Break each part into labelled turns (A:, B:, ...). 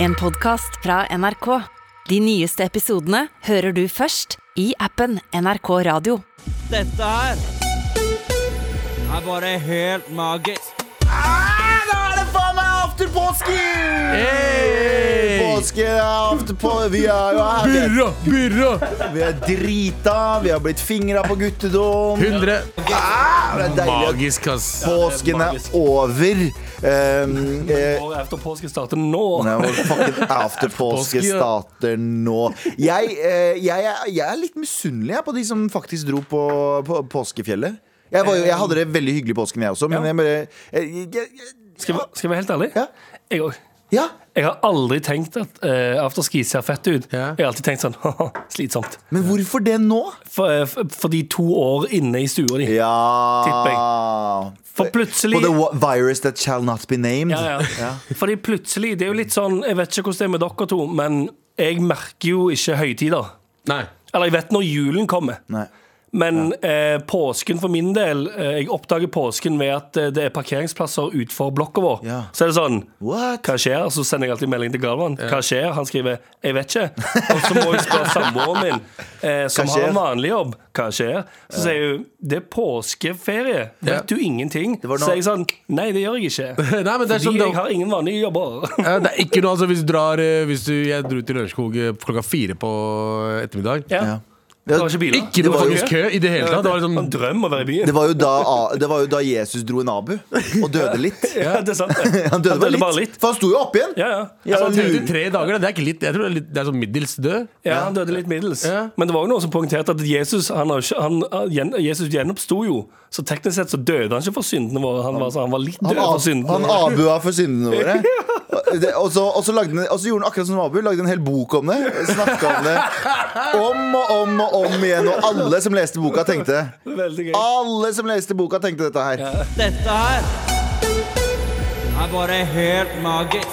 A: En podcast fra NRK. De nyeste episodene hører du først i appen NRK Radio.
B: Dette her er bare helt magisk.
C: Da Ah, er det faen meg after påske! Påske er after på... Vi er jo her. Vi er,
D: Birra, birra,
C: vi er drita, vi har blitt fingra på guttedom.
D: 100
C: Ah, det er deilig.
D: Magisk, ass
C: at Påsken er over. Um, eh,
E: Året etter påske starter nå.
C: Nei, vår fucking after påske starter nå. Jeg, eh, jeg, er- jeg er litt misunnelig jeg, på de som faktisk dro på, på påskefjellet. Jeg, var, jo- jeg hadde det veldig hyggelig i påsken, jeg også, men jeg bare jeg, jeg,
E: Skal jeg, skal jeg være helt ærlig?
C: Ja.
E: Jeg òg.
C: Ja,
E: Jeg har aldri tenkt at eh, afterski ser fett ut.
D: Ja.
E: Jeg har alltid tenkt sånn haha, slitsomt.
C: Men hvorfor det nå?
E: For, eh, for, for de to år inne i stua di.
C: Ja
E: Tipper For
C: På
E: plutselig
C: the wa- virus that shall not be named.
E: ja, ja. Fordi plutselig, det er jo litt sånn Jeg vet ikke hvordan det er med dere to, men jeg merker jo ikke høytider.
D: Nei
E: Eller jeg vet når julen kommer.
C: Nei.
E: Men eh, påsken for min del eh, Jeg oppdager påsken ved at eh, det er parkeringsplasser utenfor blokka vår.
C: Ja.
E: Så er det sånn
C: What?
E: Hva skjer? Så sender jeg alltid melding til Galvan. Hva skjer? Han skriver 'jeg vet ikke'. Og så må jeg spørre samboeren min, eh, som
C: Hva
E: har
C: skjer?
E: en vanlig jobb, hva skjer? Så sier hun 'det er påskeferie'. Vet
D: Ja.
E: du ingenting?
C: var noe-
E: Så sier jeg sånn 'nei, det gjør jeg ikke'.
D: Nei, men det er
E: Fordi
D: som
E: jeg
D: da
E: har ingen vanlige jobber.
D: Ja, det er ikke noe, altså hvis du drar eh, Hvis du, jeg dro til Lørenskog eh, klokka fire på eh, ettermiddag
E: Ja.
C: Ja.
E: Det var ikke biler.
D: Ikke noe
E: var
D: faktisk kø i det hele tatt Det var
E: Det var en
D: liksom
E: drøm å være i byen.
C: Det var, jo da, det var jo da Jesus dro en abu og døde litt.
E: Ja, det er sant. det.
C: Han døde, bare litt.
E: bare litt.
C: For han sto jo opp igjen!
E: Ja, Altså, ja.
C: Ja,
D: sånn
C: lur-
D: 33 dager, det er ikke litt Jeg tror det er, litt, det er sånn middels død
E: Ja, han døde litt middels.
D: Ja.
E: Men det var jo noen som poengterte at Jesus, han har jo ikke, han, han- gjen- Jesus gjenoppsto jo. Så teknisk sett så døde han ikke for syndene våre. Han var, så han var litt død
C: Han, ab
E: for syndene.
C: han abua for syndene våre. Og det- Og så, og, så lagde han, og så gjorde han akkurat som Abu. Lagde en hel bok om det. Snakka om det om og om og om igjen. Og alle som leste boka, tenkte
E: Veldig gøy.
C: Alle som leste boka, tenkte dette her.
B: Dette her er bare helt magisk.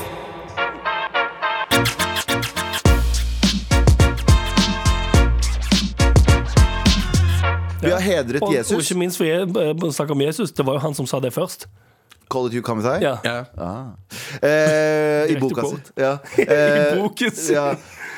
C: Vi har hedret
E: Og, og
C: Jesus.
E: ikke minst for jeg eh, snakker om Jesus, det var jo han som sa det først.
C: Call it you come with
E: Ja.
D: Ja
C: Eh, I
E: Direkte
C: boka si.
E: quote.
C: Ja. Eh,
E: I boken sin.
C: Ja.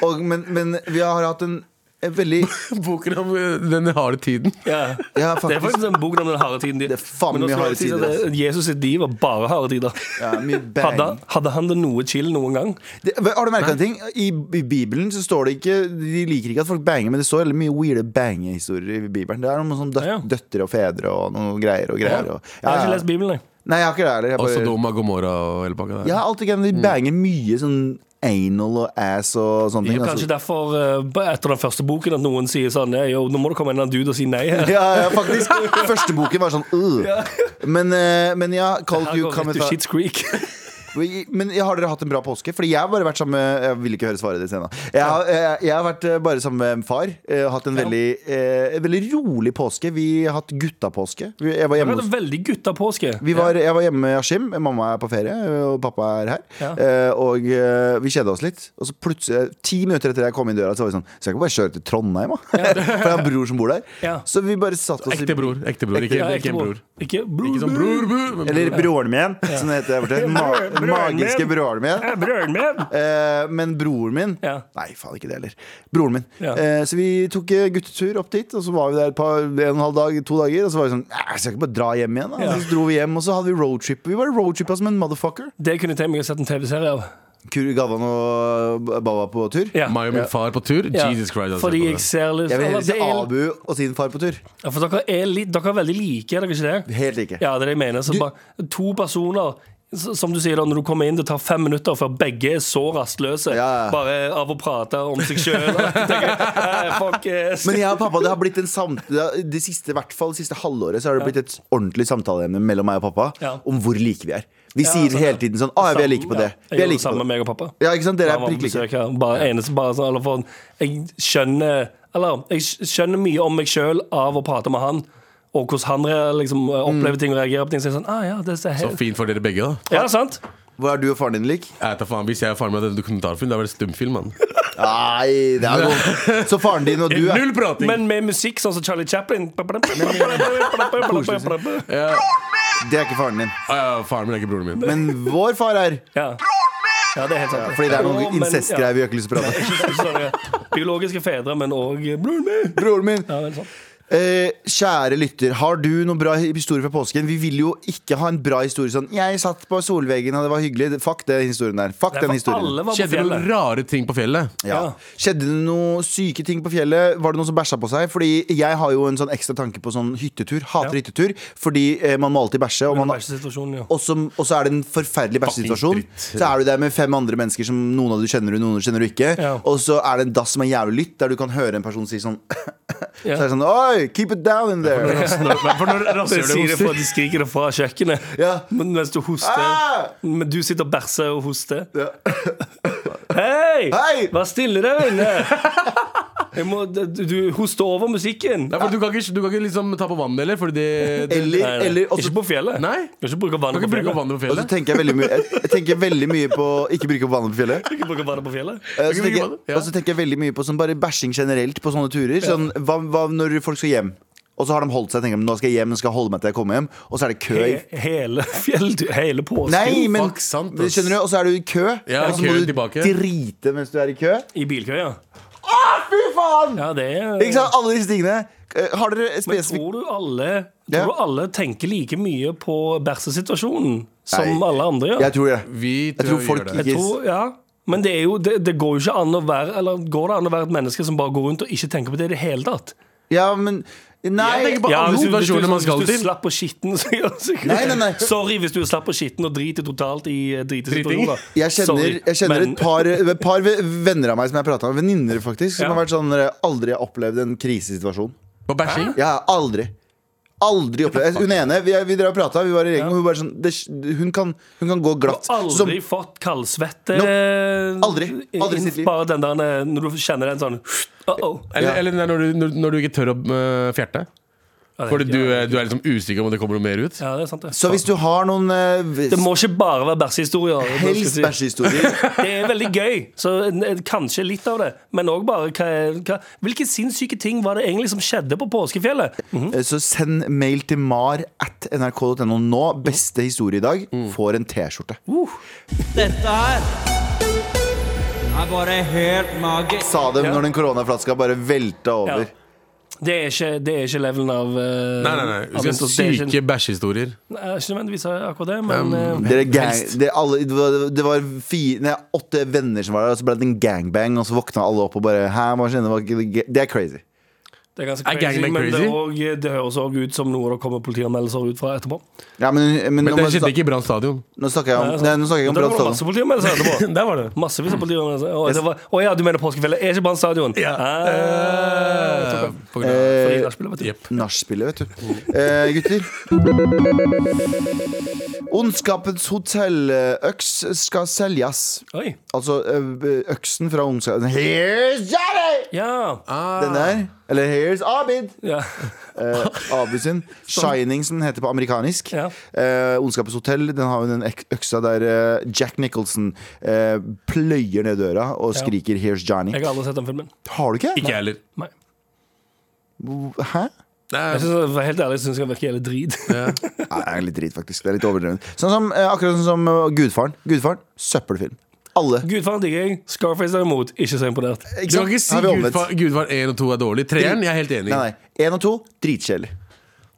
C: Og, men, men vi har hatt en, en veldig
D: Boken om eh, den harde tiden
E: Ja.
C: Ja,
E: Det er
C: faktisk.
E: faktisk en bok om den harde tiden. Det
C: er faen mye harde tider,
E: eh, Jesus sitt liv var bare harde tider.
C: Ja, mye bang.
E: Hadde, han- hadde han det noe chill noen gang?
C: Det, har du merka en ting? I, I Bibelen så står det ikke De liker ikke at folk banger, men det står veldig mye weirde bangehistorier i Bibelen. Det er noen sånn døt,
E: Ja, ja.
C: døtre og fedre og noen greier og greier. Og,
E: Jeg har
C: ja,
E: ikke
C: ja.
E: lest Bibelen, jeg.
C: Nei, jeg har ikke det heller. Jeg
D: Og
C: bare-
D: Sodoma, Gomorra og hele pakka der
C: Ja, alt det
E: Mm.
C: greiene. De banger mye sånn anal og ass og sånne ting.
E: Det er kanskje
C: altså.
E: derfor, eh, etter den første boken, at noen sier sånn «Nei, jo, Nå må det komme en eller annen dude og si nei her.
C: Ja, ja, faktisk. Første boken var sånn øh. men, eh, men ja, Call
E: Her
C: You
E: går
C: Come
E: rett til
C: With
E: Shit's Creek.
C: Vi- Men jeg har dere hatt en bra påske? Fordi jeg har bare vært sammen med Jeg vil ikke høre svaret ditt ennå. Jeg, har- jeg, jeg har vært eh, bare sammen med en far. eh, og Hatt en veldig, eh, en veldig rolig påske. Vi har hatt guttapåske. Vi- Jeg var
E: Det
C: hjemme
E: var
C: hos
E: veldig gutta påske.
C: vi var, jeg var hjemme med Askim. Mamma er på ferie, eh, og pappa er her.
E: Ja.
C: Eh, og eh, vi kjeda oss litt. Og så plutselig, eh, ti minutter etter jeg kom inn døra, Så var vi sånn Skal jeg ikke bare kjøre til Trondheim, da? For jeg har en bror som bor der.
E: Ja.
C: Så vi bare satte oss
D: Ekte bror, ekte bror, ikke,
E: Ja,
D: ikke en bror
E: Ikke bror.
D: Ikke sånn bror, bror men-
C: Eller broren min, som det heter der borte. Ma
E: Broren min.
C: magiske broren min.
E: Eh, Brøren min!
C: Eh, men broren min
E: Ja.
C: Nei, faen ikke det heller. Broren min.
E: Ja.
C: Eh, så vi tok eh, guttetur opp dit, og så var vi der et par, en og en halv dag, to dager. Og så var vi sånn "Nei, Jeg skal ikke bare dra hjem igjen. Da.
E: Ja.
C: Så dro vi hjem, og så hadde vi roadtrip. Vi bare roadtrippa som en motherfucker.
E: Det kunne jeg tenkt meg å sette en TV-serie av.
C: Kuri Gavan og eh, Baba på tur.
E: Ja.
D: Meg og min far på tur
E: Ja.
D: Jesus Christ altså,
E: Fordi
D: på
E: jeg
D: det.
E: ser litt
C: Jeg vil
E: eller,
C: heller
E: det
C: se
E: er,
C: Abu og sin far på tur.
E: ja, For dere er, litt, dere er veldig like, er dere ikke det?
C: Helt like.
E: Ja, det er det jeg mener. Så
C: Du-
E: bare, to personer s- som du sier da, Når du kommer inn, det tar fem minutter før begge er så rastløse
C: Ja.
E: bare av å prate om seg sjøl. Eh,
C: Men jeg og pappa, det har blitt en samtale Det siste, i hvert fall det siste halvåret Så har det blitt et ordentlig samtaleemne mellom meg og pappa
E: Ja.
C: Om hvor like vi er Vi
E: Ja,
C: sier
E: sånn, ja.
C: hele tiden sånn, ah, vi er like på det
E: Ja,
C: Vi er
E: jeg gjorde det
C: like på
E: samme
C: det
E: med meg og pappa.
C: Ja, ikke sant? Dere
E: Ja,
C: er
E: man
C: prikk like
E: besøker her. Bare eneste bare sånn eller for, Jeg skjønner Eller jeg skjønner mye om meg sjøl av å prate med han. Og hvordan han re- liksom,
C: Mm.
E: opplever ting og reagerer på ting. Så jeg er sånn, ah, ja, det er så
D: Så
E: helt.
D: fint for dere begge da
E: Ja, sant?
C: Hva er du og faren din lik?
D: Jeg tar faen, hvis jeg og faren min hadde en dokumentarfilm Det hadde vært stumfilm, mann
C: Nei, det er jo Så faren din og du er
D: Null prating
E: Men med musikk sånn som Charlie Chaplin.
C: Det er ikke faren din
D: Ah, ja, Faren min er ikke broren min
C: Men vår far er
E: Ja. Ja, det er helt sant.
C: Ja, fordi det er
E: Å,
C: noen
E: men-
C: incestgreier vi har ikke lyst til å prate om.
E: ja. Sorry. Biologiske fedre, men òg broren min.
C: Broren min!
E: Ja, sånn. det er sant.
C: Eh, kjære lytter, har du noen bra historier fra påsken? Vi vil jo ikke ha en bra historie sånn 'Jeg satt på solveggen, og det var hyggelig'. Fuck den historien der. Fuck
E: Det er
C: den
E: for
C: historien.
E: alle var på
D: Skjedde det noen
E: fjellet.
D: rare ting på fjellet?
C: Ja.
E: Ja.
C: Skjedde det noen syke ting på fjellet? Var det noen som bæsja på seg? Fordi jeg har jo en sånn ekstra tanke på sånn hyttetur. Hater
E: Ja.
C: hyttetur. Fordi eh, man må alltid bæsje. Og,
E: Men
C: man,
E: det var ikke situasjonen, ja.
C: og, så, og så er det en forferdelig bæsjesituasjon.
D: Fucking dritt.
C: Så er du der med fem andre mennesker som noen av du kjenner og noen av du kjenner du ikke.
E: Ja.
C: Og så er det en dass som er jævlig lytt, der du kan høre en person si sånn Så
E: Ja.
C: er det sånn Oi, keep it down in there.
D: For når
E: De,
D: rasshølet
E: sier det fra,
D: hoster
E: de skriker det fra kjøkkenet
C: Ja.
E: men mens du hoster.
C: Ah!
E: Men du sitter og bæsjer og hoster.
C: Ja.
E: Hei!
C: Hei!
E: Vær stille der inne! Jeg må, du du hoster over musikken.
D: Nei, for du kan ikke, du kan ikke liksom ta på vannet heller, fordi det, det
C: Eller,
E: Nei, nei.
C: eller altså- og så-
E: Ikke på fjellet.
D: Nei?
E: Du kan ikke bruke
D: Du
E: vannet
D: kan
E: på
D: ikke bruke opp
E: fjellet.
D: vannet på
C: og så
D: fjellet.
C: tenker jeg veldig mye Jeg, jeg tenker veldig mye på ikke bruke opp vannet på fjellet.
E: Du kan ikke bruke vannet på fjellet.
C: Eh, så
D: Jeg kan bruke
C: tenker,
D: vannet, ja.
C: Og så tenker jeg veldig mye på sånn bare bæsjing generelt på sånne turer. Sånn, hva, hva når folk skal hjem? Og så har de holdt seg. Tenker, de, nå skal jeg hjem, nå skal jeg holde meg til jeg kommer hjem. Og så er det kø. i-
E: He, hele fjelltu- hele påsken
C: Nei, men
D: Fuck, sant, ass.
C: skjønner du? Og så er du i kø.
D: Ja,
C: og så må
D: køen
C: du
D: tilbake.
C: drite mens du er i kø.
E: i bilkøya.
C: Fy faen!
E: Ja, det er
C: Ikke sant? Alle disse tingene. Eh, Har dere
E: Men
C: spesifikt
E: tror du alle
C: Ja.
E: Tror du alle tenker like mye på bæsjesituasjonen som
C: Nei.
E: alle andre gjør?
C: Jeg tror det.
D: Vi
C: Jeg tror
D: vi
C: folk
D: gjør det.
E: Jeg
C: ikke
E: tror, ja men det, er jo, det, det går jo ikke an å være Eller går det an å være et menneske som bare går rundt og ikke tenker på det i det hele tatt?
C: Ja, men Nei.
D: Jeg tenker på alle
E: hvis du- hvis du-
D: situasjoner man skal
E: Hvis
D: til.
E: du slapp på skitten, så gjør det sikkert
C: Nei, nei, nei.
E: Sorry hvis du slapp på skitten og driter totalt i eh, dritesituasjoner.
C: Jeg kjenner,
E: Sorry,
C: jeg kjenner
E: men-
C: et par, et par ve- venner av meg som jeg prata med, venninner faktisk, som
E: Ja.
C: har vært sånn eh, aldri har opplevd en krisesituasjon.
D: På bæsjing?
C: Ja, aldri. Aldri opplevd Hun ene, vi, vi drev og prata, vi var i gjengen, og hun bare sånn det, hun, kan, hun kan gå glatt. Som,
E: Aldri fått kaldsvette. eh,
C: Aldri. Aldri i sitt liv.
E: Bare den der eh, når du kjenner den sånn uh -oh.
D: Eller,
C: Ja.
D: eller når, du, når, når du ikke tør å øh, fjerte? Fordi du, er- du er liksom usikker om det kommer noe mer ut?
E: Ja, det er sant, det.
C: så hvis du har noen eh, hvis-
E: Det må ikke bare være bæsjehistorier. det skal jeg
C: helst
E: si.
C: bæsjehistorier
E: Det er veldig gøy, så en- en- kanskje litt av det. Men òg bare hva, er- hva, Hvilke sinnssyke ting var det egentlig som skjedde på påskefjellet? Mhm.
C: Eh, Så send mail til mar at nrk.no nå. Beste historie i dag
E: Mm.
C: får en T-skjorte.
B: Dette her er bare helt magisk.
C: Sa dem
E: Ja.
C: når den koronaflaska bare velta
E: Ja.
C: over.
E: Det, er ikke, det er ikke levelen av eh,
D: Nei, nei, nei.
E: av
D: Vi skal
E: instans- det er ikke-
D: syke bæsjehistorier.
E: Nei, Ikke nødvendigvis akkurat det, men eh,
C: Dere gang,
D: Helst.
C: det, alle, det var, det var fi- nei, åtte venner som var der, og så ble det en gangbang, og så våkna alle opp og bare Hæ, hva skjedde? Det var ikke- Det er crazy.
E: det er ganske
D: Er
E: crazy.
D: gangbang
E: Men det,
D: crazy?
E: er også- eh, det høres òg ut som noe det kommer politianmeldelser ut fra etterpå.
C: Ja, men, men,
D: Men
C: nå,
D: det skjedde
C: snak-
D: ikke i Brann stadion.
C: nå snakker jeg om,
E: Nei,
C: nei, nå snakker jeg om
E: Men da
C: Brann
E: var det masse
C: Stadion.
E: politianmeldelser etterpå.
D: Der var det.
E: Massevis av politianmeldelser. Å, det var- å ja, du mener påskefjellet er ikke Brann stadion?
D: Ja.
E: Ah, jeg tok av.
D: Eh, På grunn av-
E: Fordi nachspielet, vet du.
D: Jep.
C: Nachspielet, vet du.
E: Mm.
C: Eh, gutter. Ondskapens hotelløks skal selges.
E: Oi.
C: Altså ø- øksen fra ondskapen Here's Johnny!
E: Ja.
D: Ah.
C: Den der. Eller Here's Abid.
E: ja.
C: Eh, Abu sin. Shining, som den heter på amerikanisk.
E: Ja.
C: Eh, Ondskapens hotell. Den har jo den ek- øksa der eh, Jack Nicholson eh, pløyer ned døra og
E: Ja.
C: skriker 'Here's Johnny'.
E: Jeg har aldri sett den filmen.
C: Har du ikke?
D: Ikke jeg heller.
E: Nei.
C: Hæ?
E: Jeg synes, for helt ærlig syns jeg den virker helt drit.
C: Nei, det er litt dritt, faktisk. Det er litt overdrevet. Sånn som, eh, akkurat sånn som eh, Gudfaren. Gudfaren, søppelfilm. Alle.
E: Gudfaren digger jeg. Scarface derimot, ikke så imponert.
C: Ikke
D: Du
C: sant?
D: kan ikke si
C: Har vi omvendt.
D: Gudfar, Gudfar 1 og 2 er dårlig. Treeren, jeg er helt enig.
C: Nei, nei. Én og to, dritkjedelig.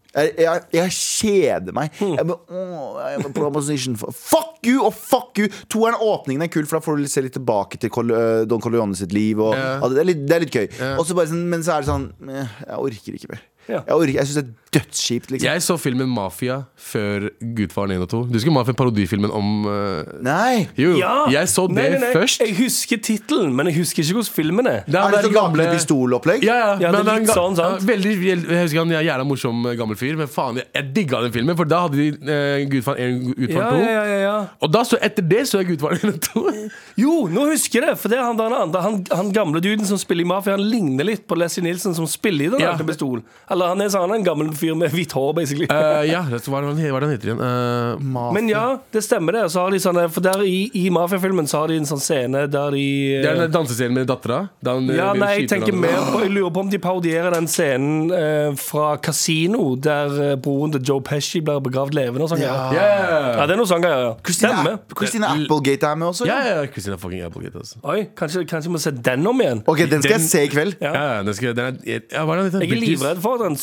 C: Jeg, jeg, jeg kjeder meg. Jeg bare, åh, jeg bare proposition for, Fuck you og fuck you! Toeren åpningen er kul, for da får du se litt tilbake til Col øh, Don Corleone sitt liv. Og,
D: Ja.
C: ja, det, er litt, det er litt gøy.
D: Ja.
C: Og så bare sånn, men så er det sånn eh, Jeg orker ikke mer.
E: Ja.
C: Jeg, orker, jeg syns det er dødskjipt, liksom.
D: Jeg så filmen Mafia før Gudfaren 1 og 2. Du husker Mafia-parodifilmen om eh,
C: Nei!
D: Jo, jeg så det
E: Nei, nei, nei.
D: først.
E: Jeg husker tittelen, men jeg husker ikke hvordan filmen er.
D: Det
C: Er det
D: den
C: sånn gamle
D: gamle-
C: pistolopplegg?
D: Ja, ja.
E: Ja, det er
D: han
E: litt
D: ga-
E: sånn, sant?
D: ja, Veldig, jeg husker han er jævla morsom eh, gammel fyr, men faen, jeg, jeg digga den filmen, for da hadde de eh, Gudfaren 1 og
E: Ja,
D: Gudfaren 2.
E: ja, ja, ja, ja.
D: Og da så, etter det så jeg Gudfaren 1 og 2.
E: Jo, nå husker jeg det! For det er han, der andre, han, han gamle duden som spiller i Mafia, han ligner litt på Leslie Nilsen som spiller i Den
D: Ja.
E: røde pistol. Eller han er, sånn, han er en gammel fyr med hvitt hår, basically.
D: Eh, ja, hva er det hva er det han heter igjen? Eh,
E: Men ja, det stemmer det. Og Så har de sånne, for der I, i mafiafilmen så har de en sånn scene der de
D: det er den dansescenen med dattera. da han, eh,
E: ja,
D: blir
E: nei, jeg
D: skyter
E: tenker
D: han.
E: mer på Jeg lurer på om de parodierer den scenen eh, fra Casino, der eh, broren til Joe Pesci blir begravd levende og sånn. Ja.
D: Ja, ja,
E: ja, det er noe sånn greier. ja.
C: Christina,
E: Stemmer.
C: Christina Applegate er med også.
D: ja,
C: Ja.
D: ja, ja. Christina fucking Applegate, altså.
E: Oi, kanskje, kanskje vi må se den om igjen?
C: Ok, Den skal jeg se i kveld.
E: Ja.
D: Ja, ja, den skal, den er, ja, hva er det han heter?
E: Jeg er
D: Bridges.
E: livredd for at han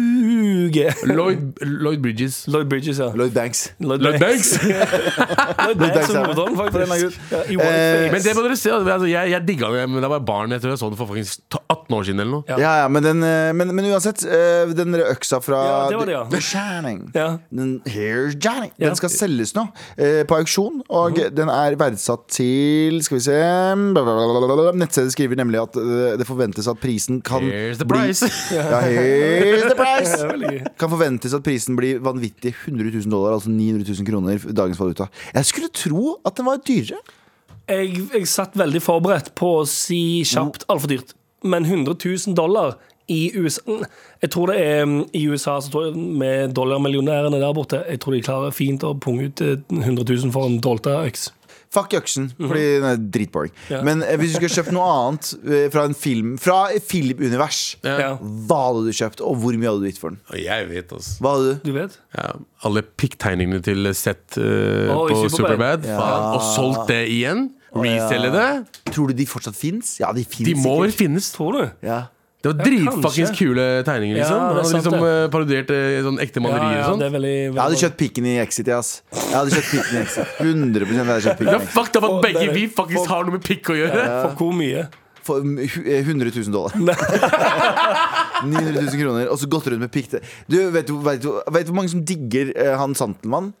E: suger.
D: Lloyd, Lloyd Bridges.
E: Lloyd Bridges, ja.
C: Lloyd Banks.
D: Lloyd Banks!
E: Lloyd Banks
C: Banks, ja.
E: og moderen, faktisk. Ja, i
C: Eh,
E: Whiteface.
D: Men det må dere se. Altså, jeg jeg digga det, men det var barn. Jeg tror jeg så det for faktisk 18 år siden eller noe.
E: Ja.
C: Ja, ja, men, den, eh, men, men uansett, eh, den der øksa fra
E: Ja, det var det, ja.
C: The Shining.
E: Ja.
C: Den, Here's Johnny.
E: Ja. Mhm.
C: den skal selges nå, eh, på auksjon. Og den er verdsatt til Skal vi se blablabla. Nettstedet skriver nemlig at eh, det forventes at prisen kan
D: Here's the
C: bli-
D: price.
C: Ja, here's the price!
E: Ja, veldig gøy.
C: Kan forventes at prisen blir vanvittig 100 000 dollar, altså 900 000 kroner i dagens valuta. Jeg skulle tro at den var dyrere.
E: jeg, jeg satt veldig forberedt på å si kjapt
D: Mm.
E: altfor dyrt. Men 100 000 dollar i USA Jeg tror det er mm, I USA så tror jeg med dollarmillionærene der borte Jeg tror de klarer fint å punge ut eh, 100 000 for en dolta øks.
C: Fuck øksen, fordi den er dritboring.
E: Mhm. Ja.
C: Men eh, hvis du skulle kjøpt noe annet eh, fra en film Fra et filmunivers,
E: Ja.
C: hva hadde du kjøpt, og hvor mye hadde du gitt for den?
D: Og Jeg vet, altså.
C: Hva hadde du?
E: Du vet?
D: Ja, alle pikktegningene til Seth eh,
E: Oi,
D: på
E: Superbad.
D: Superbad. Faen, Og solgt det igjen. Reselge det.
C: Tror du de fortsatt fins? Ja, de fins
D: De må vel
C: sikkert.
D: finnes.
E: Tror du?
C: Ja.
D: Det var dritfuckings
E: kanskje.
D: kule tegninger, liksom.
E: Ja, det er
D: Han hadde
E: sant,
D: liksom
E: det.
D: eh, parodiert eh, sånn ekte
E: Ja,
D: malerier og
E: ja, det
D: sånn.
E: er veldig,
C: Jeg hadde kjøpt pikken i Exit, ja, ass. Jeg hadde kjøpt pikken i Exit 100 hadde jeg kjøpt
D: Ja,
C: pikken i Exit.
D: fuck det var at begge
E: det er-
D: vi faktisk har noe med pikk å gjøre.
E: For hvor mye?
C: For mm, hu- eh, 100 000 dollar. 900 000 kroner, og så gått rundt med pikk til Du, vet du vet du- vet du hvor mange som digger eh, han Santenmann?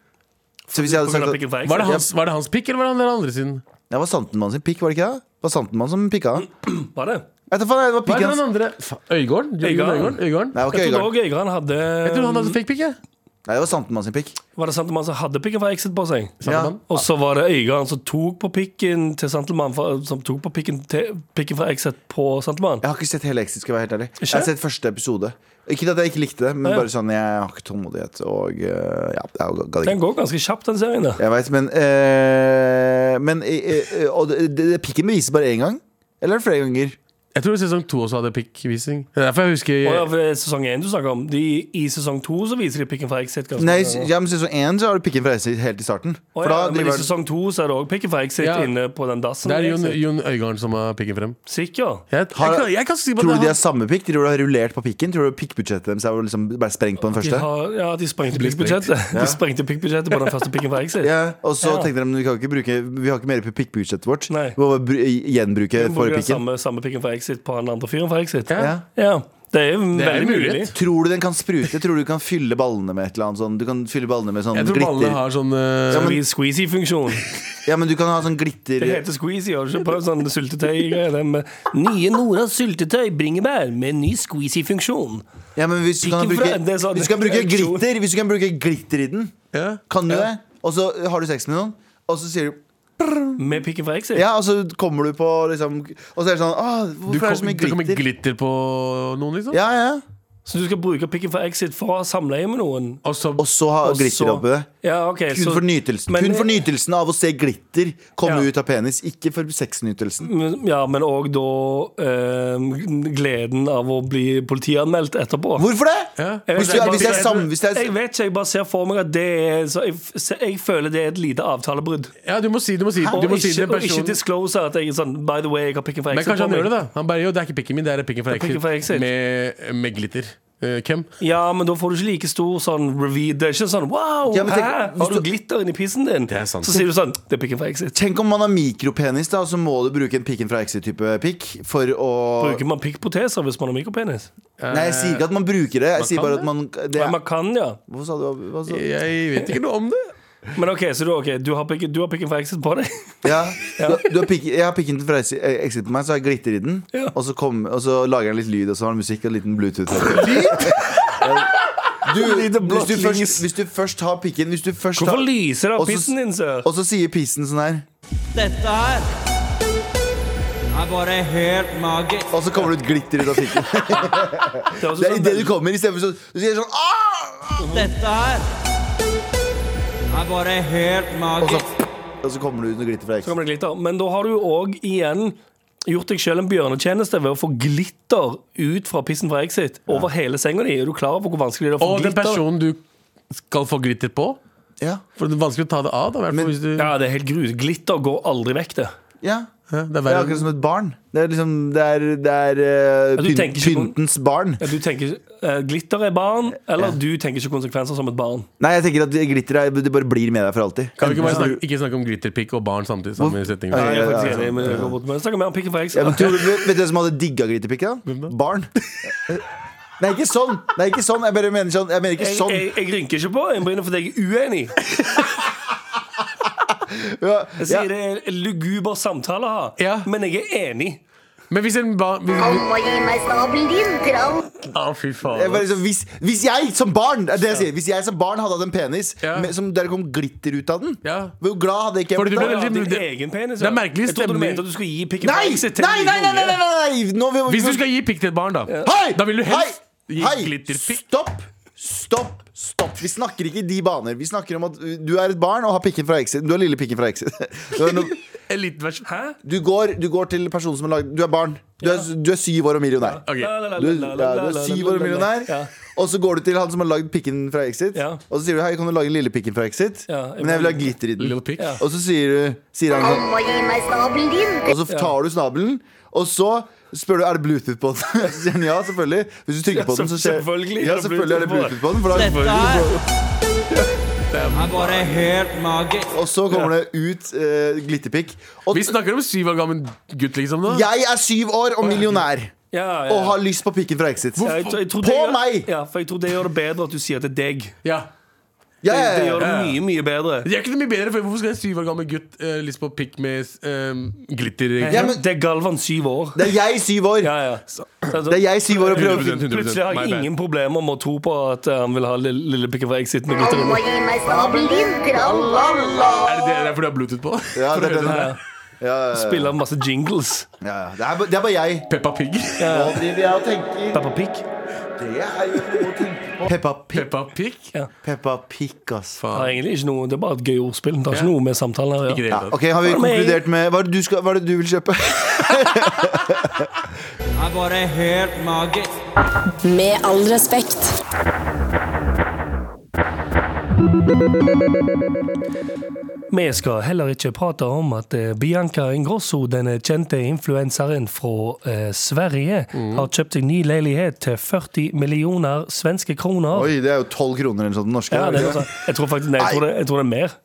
C: Så hvis jeg hadde
E: På
C: sagt
E: grunn av
C: at
E: pikken fra X?
D: Var det hans, var det hans pikk, eller var det han den andre sin?
C: Ja, var Santenmann sin pikk, var det ikke det? Det var Santenmann som pikka han?
E: Var det?
C: Vet du faen, det var
D: Hva
C: pikken
D: er den
C: hans.
D: andre? Fa- Øygarden? Øygarden?
E: Øygarden.
D: Øygarden? Øygarden?
C: Nei, det var ikke
E: Jeg trodde
C: Øygarden.
E: også Øygarden hadde
D: Jeg tror han hadde fikk pikk, jeg.
C: Nei, det var Santenmann sin pikk.
E: Var det Santelmann som hadde pikken fra Exit på seg?
C: Ja.
D: Santelmann.
E: Og så var det Øygarden som tok på pikken til Santelmann fra- Som tok på pikken, til, pikken fra Exit på Santelmann?
C: Jeg har ikke sett hele Exit, skal jeg være helt ærlig. Jeg har sett første episode. Ikke at jeg ikke likte det, men
E: Ja.
C: bare sånn, jeg har ikke tålmodighet. Og eh, ja, jeg gadd
E: Den
C: ikke.
E: går ganske kjapt, den serien der.
C: Jeg veit, men, eh, men eh, eh, Og det, det, det pikken bevises bare én gang? Eller er det flere ganger?
D: Jeg tror sesong to også hadde pikkvisning. Det er derfor jeg husker
E: Og ja, for det er sesong 1 du snakker om de, I sesong 2 så viser de pikken fra Exit ganske
C: Nei,
E: bra.
C: s- ja, men sesong én så har du pikken fra Exit helt i starten.
E: Å
C: For
E: ja,
C: da
E: men i
C: driver han
E: sesong 2 så er det også pikken fra Exit
D: Ja.
E: inne på den
D: Det
E: dassen.
D: er
E: i
D: Jon,
E: Exit.
D: Jon Øygarden som har pikken frem.
E: Sikker?
D: Jeg, jeg,
C: Har-
D: kan- jeg kan si på
C: Tror du
D: det.
C: de har samme pikk? Tror du de har rullert på pikken? Tror du pikkbudsjettet deres er liksom bare sprengt på den
E: De
C: første?
E: har, ja, de sprengte
D: blir sprengt.
E: pikkbudsjettet De sprengte pikkbudsjettet på den første pikken fra Exit.
C: Ja, og så
E: Ja.
C: tenkte de vi, kan ikke bruke, vi har ikke mer på pikkbudsjettet vårt.
E: Nei.
C: Vi må bare bru- gjenbruke
E: De bruker
C: forrige
E: den
C: pikken.
E: samme, samme pikken fra Exit på den andre fyren fra Exit.
D: Ja.
C: Ja.
E: Ja, Det er jo
D: Det er en
E: veldig mulig.
D: mulighet.
C: Tror du den kan sprute? Tror du du kan fylle ballene med et eller annet sånn? Du kan fylle ballene med sånn
D: Jeg tror alle
C: glitter
D: har sånn eh,
E: Ja, men- Squeezy-funksjon.
C: Ja, men du kan ha sånn glitter
E: Det heter squeezy. Har du ikke prøvd sånn syltetøy? Det med nye Noras syltetøy bringebær med ny squeezy-funksjon.
C: Ja, men hvis du kan
E: Pikken
C: bruke
E: fra- det er sånn-
C: Hvis du kan bruke
E: ereksjon.
C: glitter Hvis du kan bruke glitter i den
D: ja.
C: Kan du det? Og så har du sex med noen Og så sier du
E: Med pikken fra Exit.
C: Ja, og så kommer du på liksom Og så er det sånn Åh,
D: Du
C: hvorfor er det så
D: kom,
C: mye
D: det kommer
C: glitter?
D: glitter på noen, liksom?
C: Ja, ja
E: Så du skal bruke pikken fra Exit for å ha samleie med noen?
D: Og så
C: Og så ha
E: Og så-
C: glitter oppi det
E: Ja, ok
C: Kun
E: så-
C: for nytelsen
E: Men-
C: Kun for nytelsen av å se glitter Komme
E: Ja.
C: ut av penis Ikke for sexnytelsen
E: Men- Ja, men òg da eh, gleden av å bli politianmeldt etterpå.
C: Hvorfor det?
D: Ja.
E: Jeg vet
C: Hvis
E: ikke,
C: du er,
E: bare-
C: hvis jeg er sammen hvis jeg
E: Jeg
C: er,
E: vet ikke, jeg bare ser for meg at det er så jeg, f- jeg føler det er et lite avtalebrudd.
D: ja, du må si, du må si,
E: Og,
D: du må si
E: ikke,
D: til
E: og ikke
D: personen
E: disclose at jeg er sånn By the way, jeg har pikken fra
D: Men
E: Exit.
D: kanskje han
E: på meg.
D: gjør det, da. Han bare jo, det er ikke pikken min, det er pikken fra
E: Det er pikken
D: Exit.
E: fra Exit.
D: Med, med glitter. Eh, hvem?
E: Ja, men da får du ikke like stor sånn review. Det er ikke sånn wow,
C: Ja, men tenk-
E: hæ?
C: hvis
E: Har du
C: du-
E: glitter inni pissen din?
D: er sant.
E: Så sier du sånn Det er pikken fra Exit.
C: Tenk om man har mikropenis da Og så må du bruke en pikken fra Exit-type pikk For å
E: Bruker man pikkproteser hvis man har mikropenis?
C: Nei, jeg sier ikke at man bruker det Jeg sier
D: kan
C: bare
D: det.
C: at man det
E: Ja.
C: er,
E: Man Eh, kan, ja.
C: Hva sa du? Hva sa du?
D: Jeg vet ikke noe om det.
E: Men OK, så du, ok, du, har, pikken, du har pikken fra Exit på deg?
C: Ja, du, du har pikken, jeg har pikken fra Exit Exit på meg, så har jeg glitter i den.
E: Ja.
C: Og, så kom, og så lager jeg litt lyd, og så har den musikk og en liten bluetooth. Du, hvis, du først, hvis du først har pikken Hvis du først
E: Hvorfor
C: har,
E: lyser det av
C: Og så-
E: pissen din, sør?
C: Og så sier pissen sånn her
B: Dette her er bare helt magisk.
C: Og så kommer det ut glitter ut av fikken.
E: Det er også
C: Det er
E: sånn
C: i det du
E: veldig-
C: kommer, istedenfor sånn Du sier sånn «Ah!»
B: Dette her er bare helt
C: og så,
B: magisk.
C: og så kommer det ut noe glitter fra
E: Så
C: eksen.
E: kommer det glitter. Men da har du jo òg igjen gjort deg sjøl en bjørnetjeneste ved å få glitter ut fra pissen fra Exit over hele senga di. Er du klar over hvor vanskelig det er å få
D: Og den
E: glitter?
D: personen du skal få glitter på
C: Ja.
D: For det er vanskelig å ta det av. Da, i hvert fall
C: Men-
D: hvis du, ja.
E: Ja, det er helt grus. Glitter går aldri vekk, det.
C: ja.
D: det er
C: Det er
D: verre.
C: akkurat som et barn. Det er liksom Det er, det er eh,
E: Ja, du
C: pynt-
E: tenker ikke på-
C: pyntens barn.
E: Ja, Du tenker eh, glitter er barn, eller du tenker ikke konsekvenser som et barn.
C: Nei, jeg tenker at glitter er, det bare blir med deg for alltid.
D: Kan vi ikke bare snakke, ikke snakke om glitterpikk og barn samtidig? Samme setning
C: Ja, ja,
E: Jeg er
C: ja.
E: faktisk enig med Robert, men snakker mer om pikken fra
C: Ja, men
E: Exit.
C: tror du, vet du hvem som hadde digga glitterpikk? da? Barn. Nei, ikke sånn. Nei, ikke sånn. Jeg bare mener sånn. Jeg mener ikke
E: Jeg,
C: sånn.
E: jeg, jeg rynker ikke på øyenbrynene fordi jeg er uenig.
C: Ja,
E: Jeg
C: ja.
E: sier det er en luguber samtale å ha,
D: Ja.
E: men jeg er enig.
D: Men hvis en barn hvis,
F: Han må gi meg snabelen din, Trond.
D: Å, fy
C: Jeg
D: faen.
C: bare, liksom, hvis, hvis jeg som barn det er det jeg sier, Hvis jeg som barn hadde hatt en penis
D: Ja.
C: med, som der kom glitter ut av den,
D: Ja.
C: hvor glad hadde ikke jeg
D: Fordi du
C: blitt
D: ble
C: da?
E: Ja, din
D: det-
E: egen penis.
D: det er
E: ja.
D: merkelig
E: Jeg trodde du
D: stemning.
E: mente at du skulle gi pikken fra
C: Nei!
E: Exit til
C: Nei,
E: en
C: nei, nei! nei,
E: unge.
C: nei, nei. Nå vil,
D: Hvis du skal gi pikk til et barn, da.
C: Hei!
D: Da vil du helst
C: Hei!
D: gi
C: Hei!
D: glitterpikk.
C: Stopp! Stopp! Stopp! Vi snakker ikke i de baner. Vi snakker om at uh, du er et barn og har pikken fra exit. Du har lille pikken fra exit. Du, har no-
D: En liten versjon.
E: Hæ?
C: du, går, du går til personen som har lagd Du er barn. Du er, du er syv år og millionær.
D: Ok.
E: La, la, la,
C: Du,
E: la,
C: ja,
E: la,
C: du
E: la,
C: er
E: la,
C: syv
E: la,
C: år og
E: la, la.
C: millionær.
E: Ja.
C: Og så går du til han som har lagd pikken fra Exit.
E: Ja.
C: Og så sier du hei, kan du lage den lille pikken fra Exit?
E: Ja, jeg
C: Men jeg vil ha
E: vil-
C: glitter i den.
D: Little pick.
C: Og så sier, du, sier han
F: Han
C: sånn,
F: må gi meg snabelen din.
C: og så tar du snabelen, og så spør du er det Bluetooth på den. Så sier han ja, selvfølgelig. Hvis du trykker på
E: Ja,
C: den, så skjer
E: selvfølgelig er
C: ja,
E: det
C: selvfølgelig er det
E: Bluetooth
C: Bluetooth på den. For da,
B: Dette her er bare helt magisk.
C: og så kommer det ut uh, glitterpikk. Og
D: Vi snakker om syv år gammel gutt, liksom. da
C: jeg er syv år og millionær
E: Ja, ja,
C: og
E: ja.
C: har lyst på pikken fra Exit.
E: Ja, jeg, tror- jeg tror
C: På
E: det gjør,
C: meg!
E: Ja, for jeg tror det gjør det bedre at du sier at det er deg.
D: Ja.
C: Ja,
E: Det, det
C: ja, ja.
E: gjør det
D: ja.
E: mye, mye bedre.
D: Det er ikke noe mye bedre, for hvorfor skal en syv år gammel gutt eh, lyst på pikk med eh, glitter?
C: Ja, men-
E: det er Galvan syv år.
C: Det er jeg syv år.
E: Ja, ja. Så,
C: Det er jeg syv år og prøver å
D: 100%, 100%.
E: Plutselig har jeg
D: My bad.
E: ingen problemer med å tro på at eh, han vil ha lille, lille pikken fra Exit med
F: Han
E: glitter
F: må
E: inni.
F: gi meg snabelen din, tralala.
D: Er det det derfor du har Bluetooth på?
C: Ja, det er den
E: Ja,
C: her.
E: ja. Spiller masse jingles.
C: Ja, ja. Det, er, ba- det er bare jeg.
D: Peppa Pig.
C: Nå driver jeg og tenker
E: Peppa Pig.
C: Det er jo noe å tenke på. Peppa Pig.
D: Peppa Pig?
C: Peppa Pig, ass.
E: Det er
D: Faen.
E: egentlig ikke noe, det er bare et gøy ordspill. Det har
D: Ja.
E: ikke noe med samtalen her å
D: Ikke
E: gjøre.
D: det
C: Ja,
D: hele tatt.
C: ok, Har vi
E: Var det meg?
C: konkludert med Hva er det du, skal, hva er det du vil kjøpe?
B: Er bare helt magisk.
G: Med all respekt.
E: Vi skal heller ikke prate om at eh, Bianca Ingrosso, denne kjente influenseren fra eh, Sverige,
C: Mm.
E: har kjøpt seg ny leilighet til 40 millioner svenske kroner.
C: Oi, det er jo tolv kroner eller noe sånt. den Norske.
E: Ja, det er noe sånt. jeg tror faktisk nei, jeg tror det, jeg tror det er mer.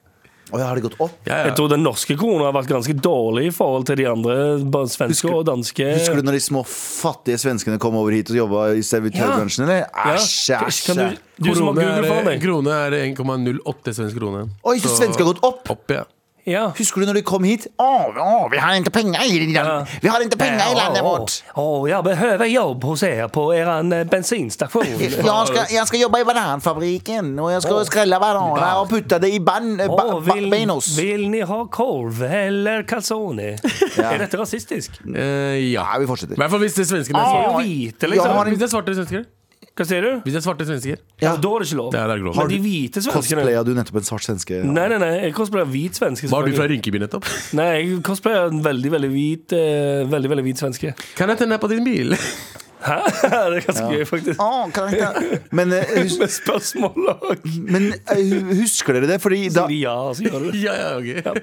C: Oi, har det gått opp?
D: Ja,
E: Jeg
D: ja.
E: tror den norske krona har vært ganske dårlig i forhold til de andre bare svenske og danske.
C: Husker du når de små fattige svenskene kom over hit og jobba i servitørbransjen, eller?
E: Ja.
C: Æsj, eh, æsj.
E: Kan du,
C: æsj.
E: du som har
D: Krone er-
E: Google foran deg.
D: Krone er 1,08 svensk krone.
C: Oi, så svensker har gått opp!
D: Opp, ja.
E: Ja.
C: Husker du når de kom hit? Å, å, vi har ikke penger i landet Vi har ikke penger i landet vårt!
E: Å, jeg behøver jobb hos dere på deres bensinstasjon.
C: Jeg skal, jeg skal jobbe i bananfabrikken, og jeg skal skrelle bananer og putte det i ban, ba,
E: Å,
C: ba,
E: vil,
C: benos.
E: vil ni ha korv eller calzone? Er dette rasistisk?
D: Eh, ja.
C: Mm. Nei, vi fortsetter.
D: I hvert fall hvis det er svenskene er
E: Vi
D: svarte.
E: er jo
C: Oi.
E: hvite,
C: Ja,
E: liksom.
C: men-
D: Hvis det er svarte svensker.
E: Hva sier du?
D: Hvis det er svarte svensker.
C: Ja.
E: Da er det ikke lov.
D: Det er- det er grov. Har
E: Men de hvite svenskene
C: Cosplaya du nettopp en svart svenske?
E: Nei, nei, nei, jeg cosplayer hvit svenske.
D: Var du fra
E: selvfølgelig.
D: Rynkeby nettopp?
E: Nei, jeg cosplayer en veldig, veldig hvit eh, Veldig, veldig hvit svenske.
D: Kan jeg tenne på din bil?
E: Hæ? Det er ganske gøy, faktisk.
C: Å, kan jeg ikke- men, eh, hus,
E: med spørsmål og
C: men eh, husker dere det? Fordi da
E: ja, så gjør du det.
D: ja, ja, ok.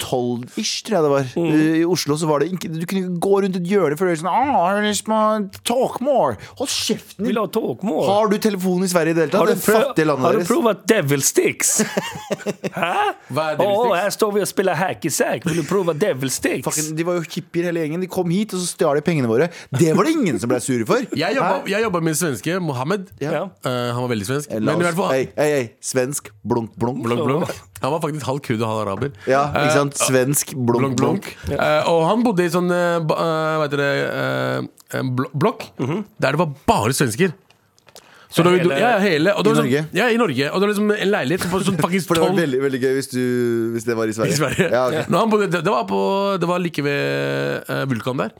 C: 2012-ish, tror jeg det var.
E: Mm.
C: Eh, I Oslo så var det ikke Du kunne ikke gå rundt et hjørne før du var sånn Å, jeg har lyst på talk more. Hold kjeften
E: Vi
C: din!
E: la tåkmål.
C: Har du telefon i Sverige i det hele tatt? Det fattige landet
E: har du
C: deres.
E: prøvd devil sticks? Hæ?
D: Hva er
E: Å,
D: devil sticks?
E: her står vi og spiller hack i sack. Vil du prøve devil sticks?
C: Fucking- De var jo hippier hele gjengen. De kom hit, og så stjal de pengene våre. Det var det ingen som ble sure for.
D: Jeg jobba, jeg jobba med svenske Mohammed.
E: Ja.
D: Eh, han var veldig svensk.
C: La
D: Men i
C: oss-
D: hvert fall
C: Ei, ei, ei. Svensk blunk, blunk.
D: Blunk, blunk. Han var faktisk halv kurd og halv araber.
C: Ja,
D: Eh,
C: ikke sant? Svensk blunk,
D: Blunk, blunk. Eh, og han bodde i sånn eh,
C: Mhm.
D: ba- eh, Hva heter det eh, en blo- Blokk der det var bare svensker. Så da vi dro, ja, hele, og det
C: I
D: var
C: Norge?
D: Sånn, ja, i Norge. Og det var liksom en leilighet på sånn faktisk
C: For det var
D: tolv
C: veldig, veldig gøy hvis, du, hvis det var i
D: i
C: Sverige.
D: Sverige.
C: Ja, ok.
D: Når han bodde, det, det, var på, det var like ved eh, Vulkan der.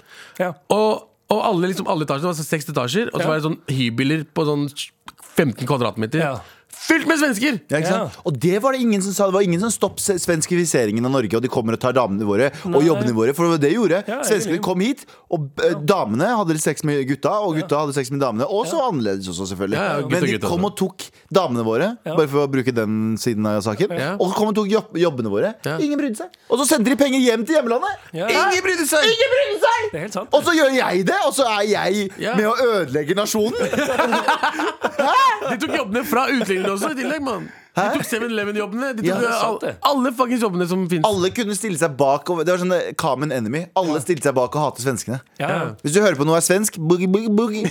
E: Ja.
D: Og, og alle, liksom, alle etasjene det var sånn seks etasjer, og så
E: Ja.
D: var det sånn hybler på sånn 15 kvadratmeter.
E: Ja.
D: Fylt med svensker!
C: Ja, ikke sant? Og det var det ingen som sa. Det var ingen som stopp se- svenskifiseringen av Norge, og de kommer og tar damene våre og jobbene våre. For det var det de gjorde.
E: jeg er
C: Svenskene
E: enig.
C: kom hit, og eh, damene hadde sex med gutta, og gutta hadde sex med damene. Og så annerledes også, selvfølgelig.
D: Ja, ja, gutta,
C: Men de
D: gutta
C: kom
D: også.
C: og tok damene våre, bare for å bruke den siden av saken.
D: Ja.
C: Og så kom og tok jobb jobbene våre.
D: Ja.
C: Ingen brydde seg. Og så sendte de penger hjem til hjemlandet.
E: Ja.
C: Ingen brydde seg! Ingen brydde seg!
E: Det er helt sant.
C: Og så gjør jeg det, og så er jeg
D: Ja.
C: med å ødelegge nasjonen.
D: De tok jobbene fra utlendinger også, i tillegg, mann. De tok 7-Eleven-jobbene. De tok
C: Ja, det er
D: eh,
E: sant, det.
D: alle, alle fuckings jobbene som fins.
C: Alle kunne stille seg bak og, Det var sånn eh, common enemy. Alle stilte seg bak og hatet svenskene.
E: Ja, ja.
C: Hvis du hører på noe er svensk, boogie, boogie, boogie.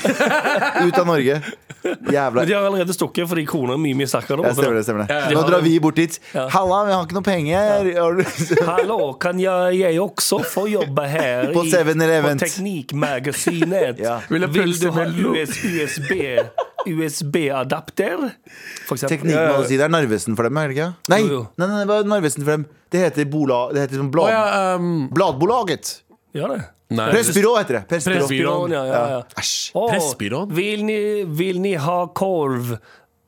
C: Ut av Norge. Jævla
E: Men de har allerede stukket fordi kroner er mye mye sterkere. der
C: ja,
E: borte.
C: stemmer det, stemmer det.
E: Ja, ja.
C: Nå drar vi bort dit. Halla, vi har ikke noe penger. Har du-
E: Hallo, kan jeg, jeg også få jobbe her
C: På
E: i-
C: 7-Eleven?
E: På Teknikkmagasinet?
C: Ja.
D: Vil jeg
E: Vil du
D: pølse
E: ha
D: med lo-
E: US, USB, USB-adapter? For eksempel.
C: Teknikkmagasinet er Narvesen for dem, er det ikke? Nei,
E: Jo,
C: nei,
E: jo.
C: nei, det var Narvesen for dem. Det heter, bola, det heter sånn
D: Å
C: blad,
D: ja, ehm,
C: Bladbolaget.
E: Ja, det.
D: nei.
C: Pressbyrå heter det. Pressbyrå.
D: Pressbyrå.
E: Byrån, ja, ja, ja.
C: Æsj.
E: Åh,
D: Pressbyrån?
E: Vil ni, vil ni ha korv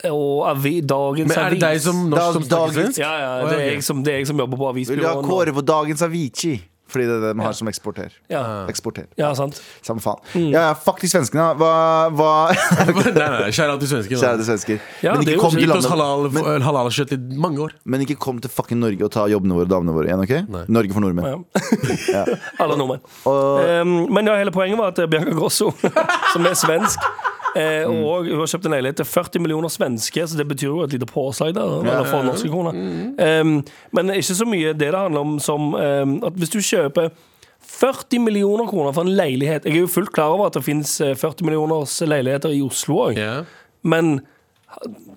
E: og avi, dagens
D: Men er det
E: avis?
D: deg som
C: Da-
D: norsk som snakker
C: dagens-
D: svensk?
E: Ja,
D: Å,
E: ja, det er
D: ok.
E: jeg som, det er jeg som jobber på
C: Vil du ha
E: avisbyråen. nå.
C: kåre på dagens Avicii? Fordi det er det de har som eksporter.
E: Ja. Mm.
C: Eksporter.
E: ja, sant.
C: Samme faen. Ja, ja, fuck de svenskene. Hva, hva
D: nei, nei, nei, Kjære til svensker.
C: Kjære til svensker.
E: Ja,
C: Men
E: det er
C: ikke
E: jo
C: kom
E: så
C: til
D: Gitt oss
C: landet
D: halal- eh, halalkjøtt i mange år.
C: Men ikke kom til fucking Norge og ta jobbene våre og damene våre igjen, ok? Norge for nordmenn.
E: Alle nordmenn. Ehm, men ja, hele poenget var at eh, Bianca Grosso, som er svensk eh, Og hun har kjøpt en leilighet til 40 millioner svenske, så det betyr jo et lite påslag der. Eller for norske kroner. Ehm, men det er ikke så mye det det handler om som ehm, at hvis du kjøper 40 millioner kroner for en leilighet Jeg er jo fullt klar over at det finnes eh, 40 millioners leiligheter i Oslo òg,
D: Ja.
E: men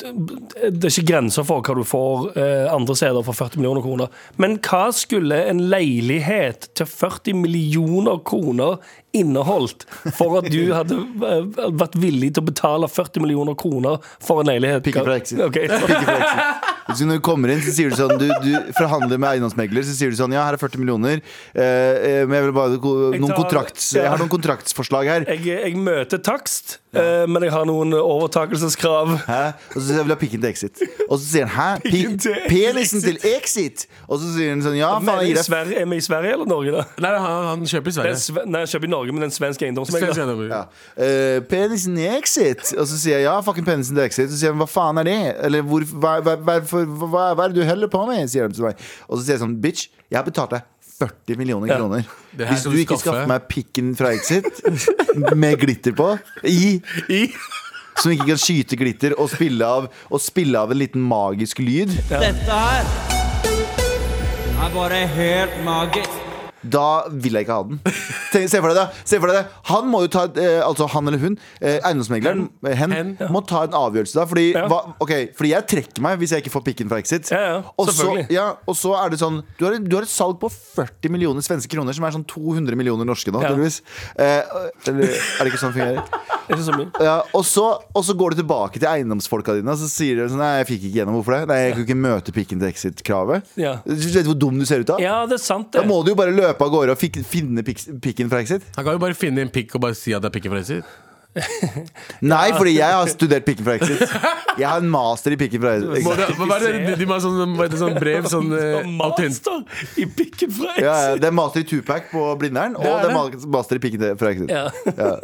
E: det er ikke grenser for hva du får eh, andre steder for 40 millioner kroner. Men hva skulle en leilighet til 40 millioner kroner inneholdt for at du hadde eh, vært villig til å betale 40 millioner kroner for en leilighet?
C: Pikke fra Exit.
E: Ok.
C: Ikke for eksis. Så når du kommer inn, så sier du sånn Du, du forhandler med eiendomsmegler, så sier du sånn Ja, her er 40 millioner, eh, eh, men jeg vil bare ko-
E: Jeg
C: noen
E: tar-
C: kontrakts,
E: ja.
C: Jeg har noen kontraktsforslag her.
E: Jeg, jeg møter takst, eh, men jeg har noen overtakelseskrav.
C: Hæ? Og så sier jeg vil ha pikken til Exit. Og så sier han hæ? Pi-
E: Pikken til
C: Penisen til Exit! Og så sier han sånn ja, faen,
E: Men
C: jeg
E: i
C: gir deg
E: Sverige, er vi i Sverige eller Norge, da?
D: Nei, han, han kjøper i
E: Det er
D: Sverige.
E: sve nei, jeg kjøper i Norge, men det er en svensk eiendomsmegler.
D: Svensk eiendom.
C: ja. Eh, penisen i Exit! Og så sier jeg ja, fucking penisen til Exit. Og så sier han hva faen er det? Eller hvor, hva, hva, hvorfor- hva, hva er det du heller på med? Sier de til meg. Og så sier jeg sånn bitch, jeg har betalt deg 40 millioner kroner.
D: Det her
C: Hvis
D: skal
C: du
D: du
C: ikke
D: skaffe.
C: skaffer meg pikken fra Exit med glitter på, i, som ikke kan skyte glitter, og spille av, og spille av en liten magisk lyd
B: Dette her er bare helt magisk.
C: Da vil jeg ikke ha den. Tenk, se for deg det. Se for deg det. Han må jo ta et, eh, Altså han eller hun, eh, eiendomsmegleren, eh, hen,
D: Hen, ja.
C: må ta en avgjørelse da. Fordi,
E: Ja.
C: hva, ok, fordi jeg trekker meg hvis jeg ikke får pikken fra Exit.
E: Ja, ja,
C: og, så,
E: selvfølgelig.
C: ja, og så er det sånn du har, du har et salg på 40 millioner svenske kroner, som er sånn 200 millioner norske nå,
E: Ja.
C: tydeligvis. Eh, eller er det ikke sånn det fungerer?
E: Det er Ikke så mye.
C: Ja, og, så, og så går du tilbake til eiendomsfolka dine og så sier de sånn Nei, jeg fikk ikke gjennom. Hvorfor det? Nei, jeg kunne ikke møte pikken til Exit-kravet.
E: Ja.
C: Du vet hvor dum du ser ut da?
E: Ja, det er sant,
C: Da
E: det.
C: må du jo bare løpe av gårde og fik, finne pik, pikken fra Exit.
D: Han kan jo bare finne en pikk og bare si at det er pikken fra Exit.
C: Nei, fordi jeg har studert pikken fra Exit. Jeg har en master i pikken fra
D: Må
C: Exit.
D: det- Hva er det de, de må ha sånn, hva heter det, sånn brev? Sånn eh, autent...
E: Master i pikken fra
C: Ja, ja,
E: Exit.
C: det er master i Tupac på Blindern, og det er ma- master i pikken fra Exit.
E: Ja.
C: Ja.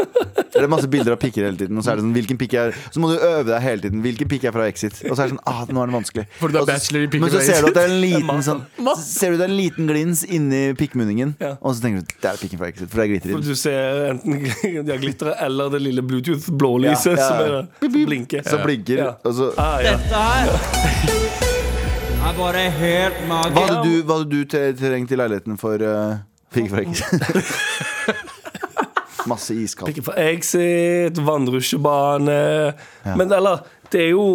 C: Det er masse bilder av pikker hele tiden, og så er det sånn hvilken pikk er Så må du øve deg hele tiden. Hvilken pikk er fra Exit? Og så er det sånn ah, nå er det vanskelig.
D: For du er
C: Og så-
D: bachelor i pikken
C: Men så
D: fra
C: ser du at det er en
E: Master.
C: liten sånn så Ser du det er en liten glins inni pikkmunningen, og så tenker du det er pikken fra Exit, for det er glitter i den.
E: Du ser enten ja, glitteret eller det lille
C: Ja, ja,
E: Bluetooth-blålyset
C: ja.
E: som er der, som blinker.
C: Så blinker,
E: Ja.
C: og så
E: Ah, ja.
B: Dette her er bare helt
C: Hva
B: magisk.
C: hadde du, hva hadde du tre- trengt i leiligheten for uh, piggfrekk? Masse iskald.
E: Pikken fra Exit, vannrusjebane Men eller, det er jo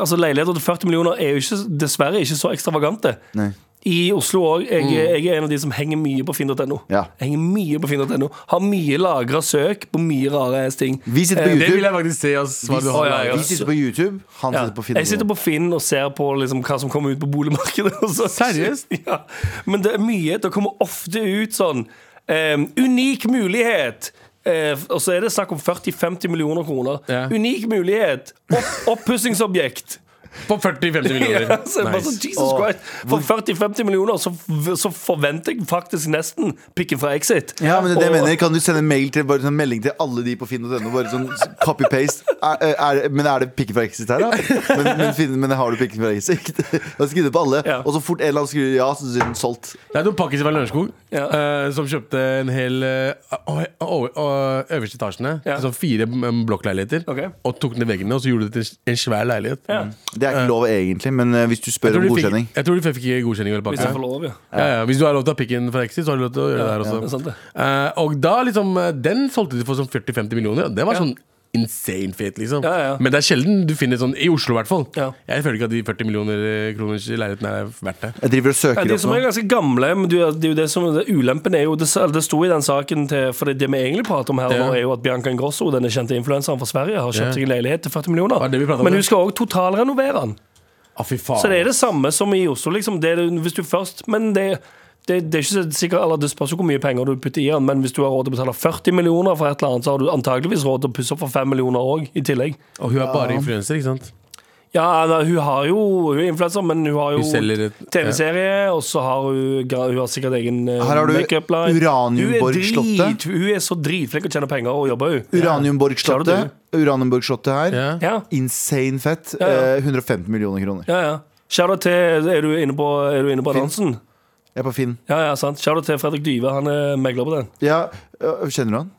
E: Altså Leiligheter til 40 millioner er jo ikke, dessverre ikke så ekstravagante.
C: Nei.
E: I Oslo òg. Jeg, jeg er en av de som henger mye på finn.no.
C: Mm. Ja.
E: Jeg Henger mye på finn.no Har mye lagra søk på mye rare ass ting.
C: Vi sitter på
E: Eh,
D: Det vil
C: YouTube.
D: jeg faktisk se. ass, hva du
E: Å,
D: har
E: ja, ja.
D: laget.
C: Vi sitter på YouTube, han
E: Ja.
C: sitter på
E: Jeg sitter
C: Finn.
E: på Finn og ser på liksom hva som kommer ut på boligmarkedet. og så-
D: Seriøst?
E: Ja. Men det er mye. Det kommer ofte ut sånn eh, Unik mulighet! Eh, og så er det snakk om 40-50 millioner kroner.
D: Ja.
E: Unik mulighet! Opp, Oppussingsobjekt!
D: På 40-50
E: Ja,
D: millioner.
E: så er det bare sånn,
D: Nice.
E: Jesus Christ For 40-50 millioner så, så forventer jeg faktisk nesten pikken fra Exit.
C: Ja, men det, er det jeg
E: Og-
C: mener Kan du sende en mail til, bare sånn melding til alle de på Finn.no? Bare sånn copy-paste. Er, eh, er, men er det pikken fra Exit her, da? Men, men, Finn, men har du pikken fra Exit? Da skriver du på alle.
E: Ja.
C: Og så fort en eller annen skriver ja, så er den solgt.
D: Det er noen pakkiser fra Lørenskog
E: Ja.
D: eh, som kjøpte en hel eh, å- å- å- øverste etasjene.
E: Ja.
D: Sånn fire mm, blokkleiligheter.
E: Ok.
D: Og tok ned veggene, og så gjorde de det til en svær leilighet.
E: Ja.
C: Det er ikke lov egentlig, men eh, hvis du
D: Jeg
C: spør om
D: tror de fikk-
C: godkjenning
D: Jeg tror de fikk ikke godkjenning. Eller
E: Hvis jeg
D: pakke.
E: får lov, ja.
D: Ja, ja. Hvis du har lov til å ha pikken fra Exit, så har du lov til å gjøre det her også.
E: det er sant det.
D: Eh, og da liksom eh, Den solgte de for sånn 40-50 millioner. og Det var sånn insane fet, liksom.
E: Ja, ja.
D: Men det er sjelden du finner sånn i Oslo, i hvert fall.
E: Ja.
D: Jeg føler ikke at de 40 millioner eh, kroners leiligheten er verdt det.
C: Jeg driver og
E: Ja,
C: søker
E: de
C: opp
E: som
C: nå.
E: er ganske gamle, men det er det er jo det som det, ulempen er jo det, det sto i den saken til For det, det vi egentlig prater om her,
D: Ja.
E: nå, er jo at Bianca Ingrosso, denne kjente influenseren fra Sverige, har kjøpt
D: Ja.
E: seg en leilighet til 40 millioner.
D: Ja, det vi prater om,
E: men
D: ja.
E: hun skal òg totalrenovere den.
D: Ah, fy faen.
E: Så det er det samme som i Oslo, liksom. Det er, det- hvis du først Men det, det, det er ikke så sikkert Eller det spørs jo hvor mye penger du putter i den, men hvis du har råd til å betale 40 millioner for et eller annet, så har du antageligvis råd til å pusse opp for 5 millioner òg, i tillegg.
D: Og hun er bare influenser, ikke sant?
E: Ja, da, hun har jo Hun er influenser, men hun har jo
D: Hun selger et-
E: TV-serie, og så har hun, gra- hun har sikkert egen eh,
C: Her har du
E: makeup-line.
C: Uraniumborg-slottet.
E: Hun er drit- Hun er så dritflink og tjener penger og jobber, hun. Klarer
C: Uraniumborg-slottet. Uraniumborg-slottet her.
D: Ja.
E: Ja,
C: Insane fett.
E: ja.
C: Eh, 150 millioner kroner.
E: ja. ja. Shout-out til Er du inne på, er du inne på annonsen?
C: Jeg er på Finn.
E: Ja, ja, sant. Shout-out til Fredrik Dyve, han er megler på den.
C: Ja, øh, kjenner du han?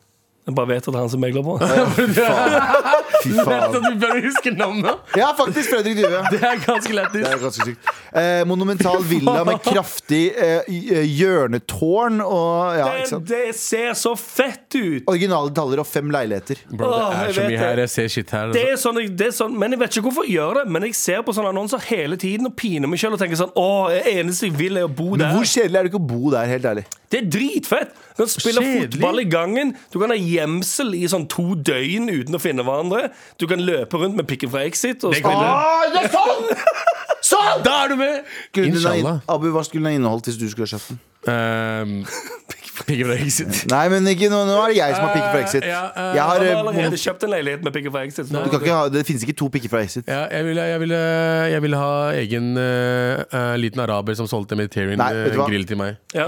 E: Jeg bare vet at det er han som megler på den.
C: Fy
D: Så
C: faen.
D: du bør huske navnet!
C: Ja, faktisk Fredrik Dyve.
D: Det er ganske lættis.
C: Det er ganske sykt. Eh, monumental villa med kraftig eh, i- hjørnetårn og ja, ikke
E: Men
C: sant?
E: det ser så fett ut!
C: Originale detaljer og fem leiligheter.
D: Bro, det
E: Åh,
D: er
E: jeg
D: så
E: vet
D: mye
E: det.
D: her. Jeg ser shit her. altså.
E: Det er sånn, det er sånn, men Jeg vet ikke hvorfor jeg gjør det, men jeg ser på sånne annonser hele tiden og piner meg sjøl og tenker sånn Å, det eneste jeg vil, er å bo
C: Men
E: der.
C: hvor kjedelig er det ikke å bo der, helt ærlig?
E: Det er dritfett! Du kan spille
D: Kjedelig.
E: fotball i gangen. Du kan ha gjemsel i sånn to døgn uten å finne hverandre. Du kan løpe rundt med pikken fra Exit. Og
D: Det kan-
E: spille.
D: sånn! Da er du med!
C: Skulle den ha
D: Inshallah.
C: inn- Abu, hva skulle den ha inneholdt hvis du skulle ha kjøpt den?
D: Um, Pikke fra Exit.
C: Nei, men ikke, nå, nå er det jeg som har pikker fra Exit.
D: Eh, ja, eh,
C: Jeg har,
E: Han har
C: eh,
E: allerede kjøpt en leilighet med pikken fra Exit. så
C: du kan ikke ha, det finnes ikke to pikker fra Exit.
D: Ja, jeg ville, jeg ville, jeg ville ha egen eh, eh, liten araber som solgte Mediterranean
C: Nei, vet du
D: eh,
C: hva?
D: grill til meg.
E: Ja.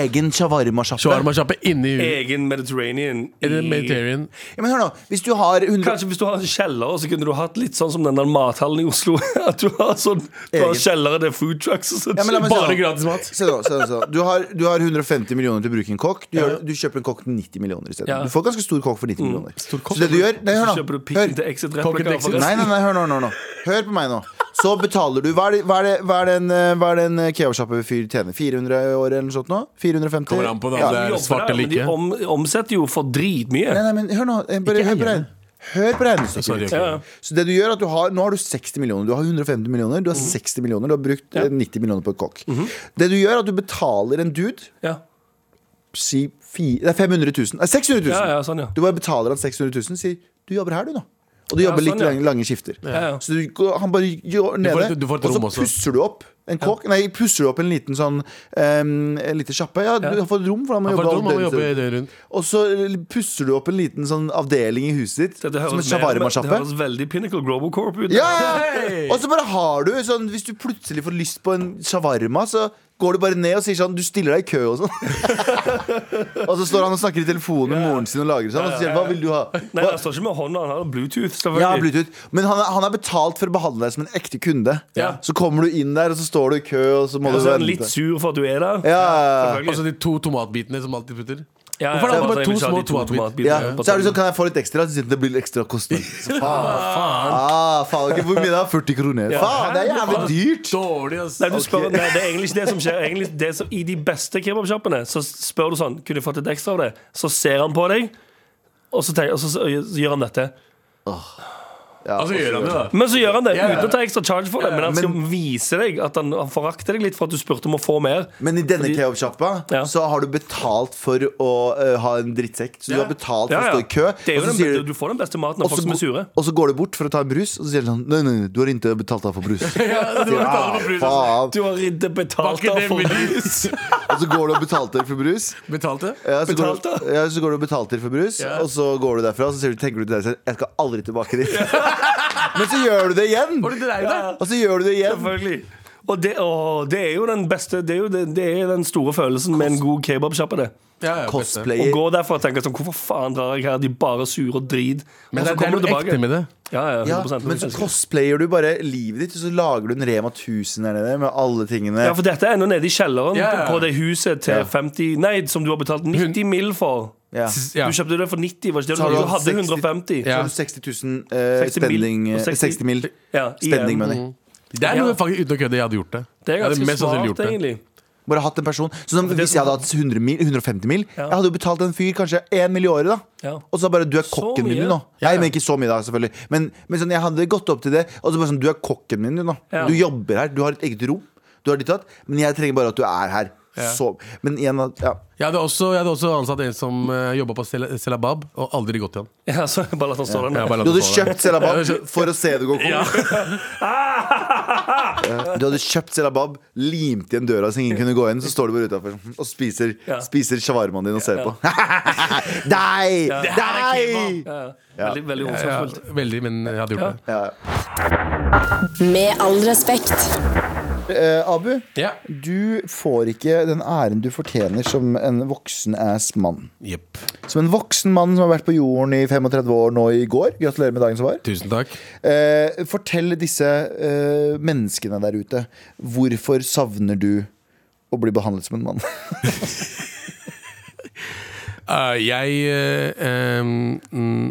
C: Egen shawarma-sjappe.
D: Shawarma-sjappe inni huet.
E: Egen Mediterranean. i-
D: Eller Mediterranean.
C: Ja, men hør nå, hvis du har 100
E: Kanskje hvis du har en kjeller, så kunne du hatt litt sånn som den der mathallen i Oslo. At du har sånn Du har
C: Egen.
E: kjellere der food trucks og sånn.
C: Ja, men la meg se
D: Bare
C: da.
D: gratis mat.
C: Se da, se da, se da. Du, har, du har 150 millioner til å bruke en kokk. Du, gjør, du kjøper en kokk til 90 millioner isteden.
E: Ja.
C: Du får ganske stor kokk for 90 millioner.
D: Mm. Stor kokk.
C: Så det du gjør Nei, hør
E: så
C: nå.
E: kjøper du
C: Hør.
E: pikken til Exit
D: Pocket
E: replika
D: Exit.
E: for
C: Nei,
E: resten.
C: nei, nei, hør nå, nå, nå. Hør på meg nå. Så betaler du Hva er det, hva er det, hva er det en, eh, hva er det en eh, kebabsjappe-fyr tjener? 400 i året eller noe sånt nå? 450?
D: Kommer an på da,
C: Ja.
D: det
E: De
D: er
E: jobber
D: Eh, svart
E: der,
D: eller
E: men De
D: ikke.
E: om, omsetter jo for dritmye.
C: Nei, nei, men hør nå. eh, Bare
D: Ikke
C: hør på
D: eierne.
C: regn- Hør på regnestykket.
D: Sorry,
C: mitt.
D: ok.
E: Ja.
C: Så det du gjør er at du har, Nå har du 60 millioner. Du har 150 millioner, du har
E: Mhm.
C: 60 millioner. Du har brukt eh, 90 millioner på en kokk. Det du gjør er at du betaler en dude
E: Ja.
C: si fi, Det er 500 000. Nei, 600 000.
E: Ja, ja, sånn, ja.
C: Du bare betaler han 600 000, sier du jobber her, du, nå. Og du
E: Ja,
C: jobber
E: sånn,
C: litt
E: ja.
C: lange, lange skifter.
E: ja.
C: Så du, går- han bare gjør nede,
D: et- du får et
C: og så
D: rom også.
C: pusser du opp en kokk. Nei, pusser du opp en liten sånn um, En liten sjappe. Ja, du har fått rom, for han må
D: Han får
C: jobbe
D: et rom,
C: all
D: han må jobbe
C: døgnet.
D: døgnet rundt.
C: Og så pusser du opp en liten sånn avdeling i huset ditt,
E: Dette
C: som en
E: høres, mer, men det
C: shawarma-sjappe.
E: høres veldig Pinnacle Global Corp ut.
C: Ja, ja, ja. Og så bare har du sånn Hvis du plutselig får lyst på en shawarma, så går du bare ned og sier sånn Du stiller deg i kø og sånn. og så står han og snakker i telefonen med moren sin og lager sånn. Og så sier han hva vil du ha?
E: Nei, han står ikke med hånda, han har Bluetooth. selvfølgelig.
C: Ja, Bluetooth. Men han, er- han er betalt for å behandle deg som en ekte kunde.
E: Ja.
C: Så kommer du inn der, og så står du i kø, og så må
E: Og
C: du
E: så er han litt
C: vente.
E: sur for at du er der.
C: Ja,
E: Selvfølgelig.
D: Og så de to tomatbitene som alltid putter.
E: Ja, ja,
D: Hvorfor er det
E: ja,
D: bare
E: jeg
D: to
E: vil ikke ha
D: små
E: de
D: tomatbit?
C: ja.
E: tomatbitene.
C: Så er det sånn, kan jeg få litt ekstra? Så sier han, det blir litt ekstra kostnad. Så Faen. Ah, faen, ok, Hvor mye da? 40 kroner. Faen, det er jævlig dyrt.
D: Dårlig, ass.
E: Nei, du spør, nei, det er egentlig ikke det som skjer. Egentlig det som, I de beste kebabsjappene så spør du sånn Kunne jeg fått et ekstra av det? Så ser han på deg, og så, tenker, og så, så gjør han dette.
C: Ja,
D: Altså, gjør han det, da?
E: Men så gjør han det
D: Ja, ja.
E: uten å ta ekstra charge for det. Men han skal vise deg at han, han forakter deg litt for at du spurte om å få mer.
C: Men i denne
E: Fordi-
C: kebabsjappa
E: Ja.
C: så har du betalt for å eh, ha en drittsekk. Så du har betalt for
E: Ja,
C: å
E: ja.
C: stå i kø.
E: Det
C: og
E: er jo
C: så
E: den,
C: sier
E: beste- du får den beste maten av
C: og
E: folk
C: så
E: som er
C: gå-
E: sure.
C: og så går du bort for å ta en brus, og så sier han sånn Nei, nei, du har ikke betalt deg for brus.
D: Ja, du må betale for brus, altså.
C: faen.
E: Du har ikke
D: Var
E: betalt
D: ikke
E: av
D: det
E: for
D: mye?
C: Og så går du og betalte for brus.
D: Betalte?
C: Ja, så
E: Betalt,
C: går, du-
E: da?
C: ja, så går du og betalte for brus,
D: Ja.
C: og så går du derfra og så sier du, tenker du til deg selv Jeg skal aldri tilbake dit. Men så gjør du det igjen!
D: Var det det der, da?
C: Og så gjør du det igjen.
E: Selvfølgelig. Og det, å, det er jo den beste Det er jo det, det er den store følelsen med en god kebabsjappe. det.
D: Ja, ja, beste.
E: Å
C: Cosplayer.
E: gå derfra og tenke sånn Hvorfor faen drar jeg her? De er bare sure og drit. Og
D: Men det,
E: så
D: det er
E: kommer du
D: noe
E: tilbake.
D: ekte med det.
E: Ja,
C: Ja,
E: ja, 100%,
C: men så
E: elsker det.
C: cosplayer du bare livet ditt, og så lager du en Rema 1000 der nede med alle tingene.
E: ja, for dette er ennå nede i kjelleren
D: Ja, ja.
E: på det huset til 50 Nei, som du har betalt 90 mill. for.
C: Ja.
D: Ja.
E: Du kjøpte det for 90, var ikke det?
C: Så har
E: Du
C: du hatt
E: hadde
C: 60
E: 150.
C: Så
D: Ja.
C: har du 60 000 eh,
E: 60 mil,
C: spending
E: og
C: 60,
E: 60
C: mil.
E: Ja,
C: Spending
E: igjen.
C: money.
D: Det er noe
E: Ja.
D: faktisk uten å kødde jeg hadde gjort det.
E: Det
D: Jeg
E: er
D: hadde
E: ganske
D: mest sannsynlig
E: smart,
D: gjort det.
E: egentlig.
C: Bare hatt en person Så da,
E: det
C: Hvis
E: som-
C: jeg hadde hatt 100 mil, 150 mil Jeg hadde jo betalt en fyr kanskje 1 mill i året da
E: Ja.
C: Og så bare du er kokken min
E: mye?
C: du nå Nei, men ikke så mye da selvfølgelig Men, men sånn, jeg hadde gått opp til det Og så bare sånn, du er kokken min du nå
E: Ja.
C: Du jobber her, du har et eget rom Du har ditt og datt, Men jeg trenger bare at du er her så, Men igjen, da- ja
D: Jeg hadde også, jeg hadde også ansatt en som uh, jobba på Sel- Selabab, og aldri gått til han.
E: Ja, så bare la han stå
D: Jeg
E: der.
D: bare la
C: Du
D: det
C: hadde
D: stå der.
C: kjøpt Selabab for å se det gå kongen Du hadde kjøpt Selabab Limt igjen døra så ingen kunne gå inn Så står du bare utenfor sånn, og spiser,
E: Ja.
C: spiser shawarmaen din og ser på Dei! Dei!
E: Ja, ja. Veldig, veldig
D: Ja,
E: omsorgsfullt.
D: veldig, men jeg hadde gjort det.
C: Ja.
G: Med all respekt.
C: Eh, Abu,
D: Ja.
C: du får ikke den æren du fortjener som en voksen-ass mann.
D: Jepp.
C: Som en voksen mann som har vært på jorden i 35 år nå i går. Gratulerer med dagen som var.
D: Tusen takk.
C: Eh, fortell disse eh, menneskene der ute. Hvorfor savner du å bli behandlet som en mann?
D: Eh, jeg eh, em, mm,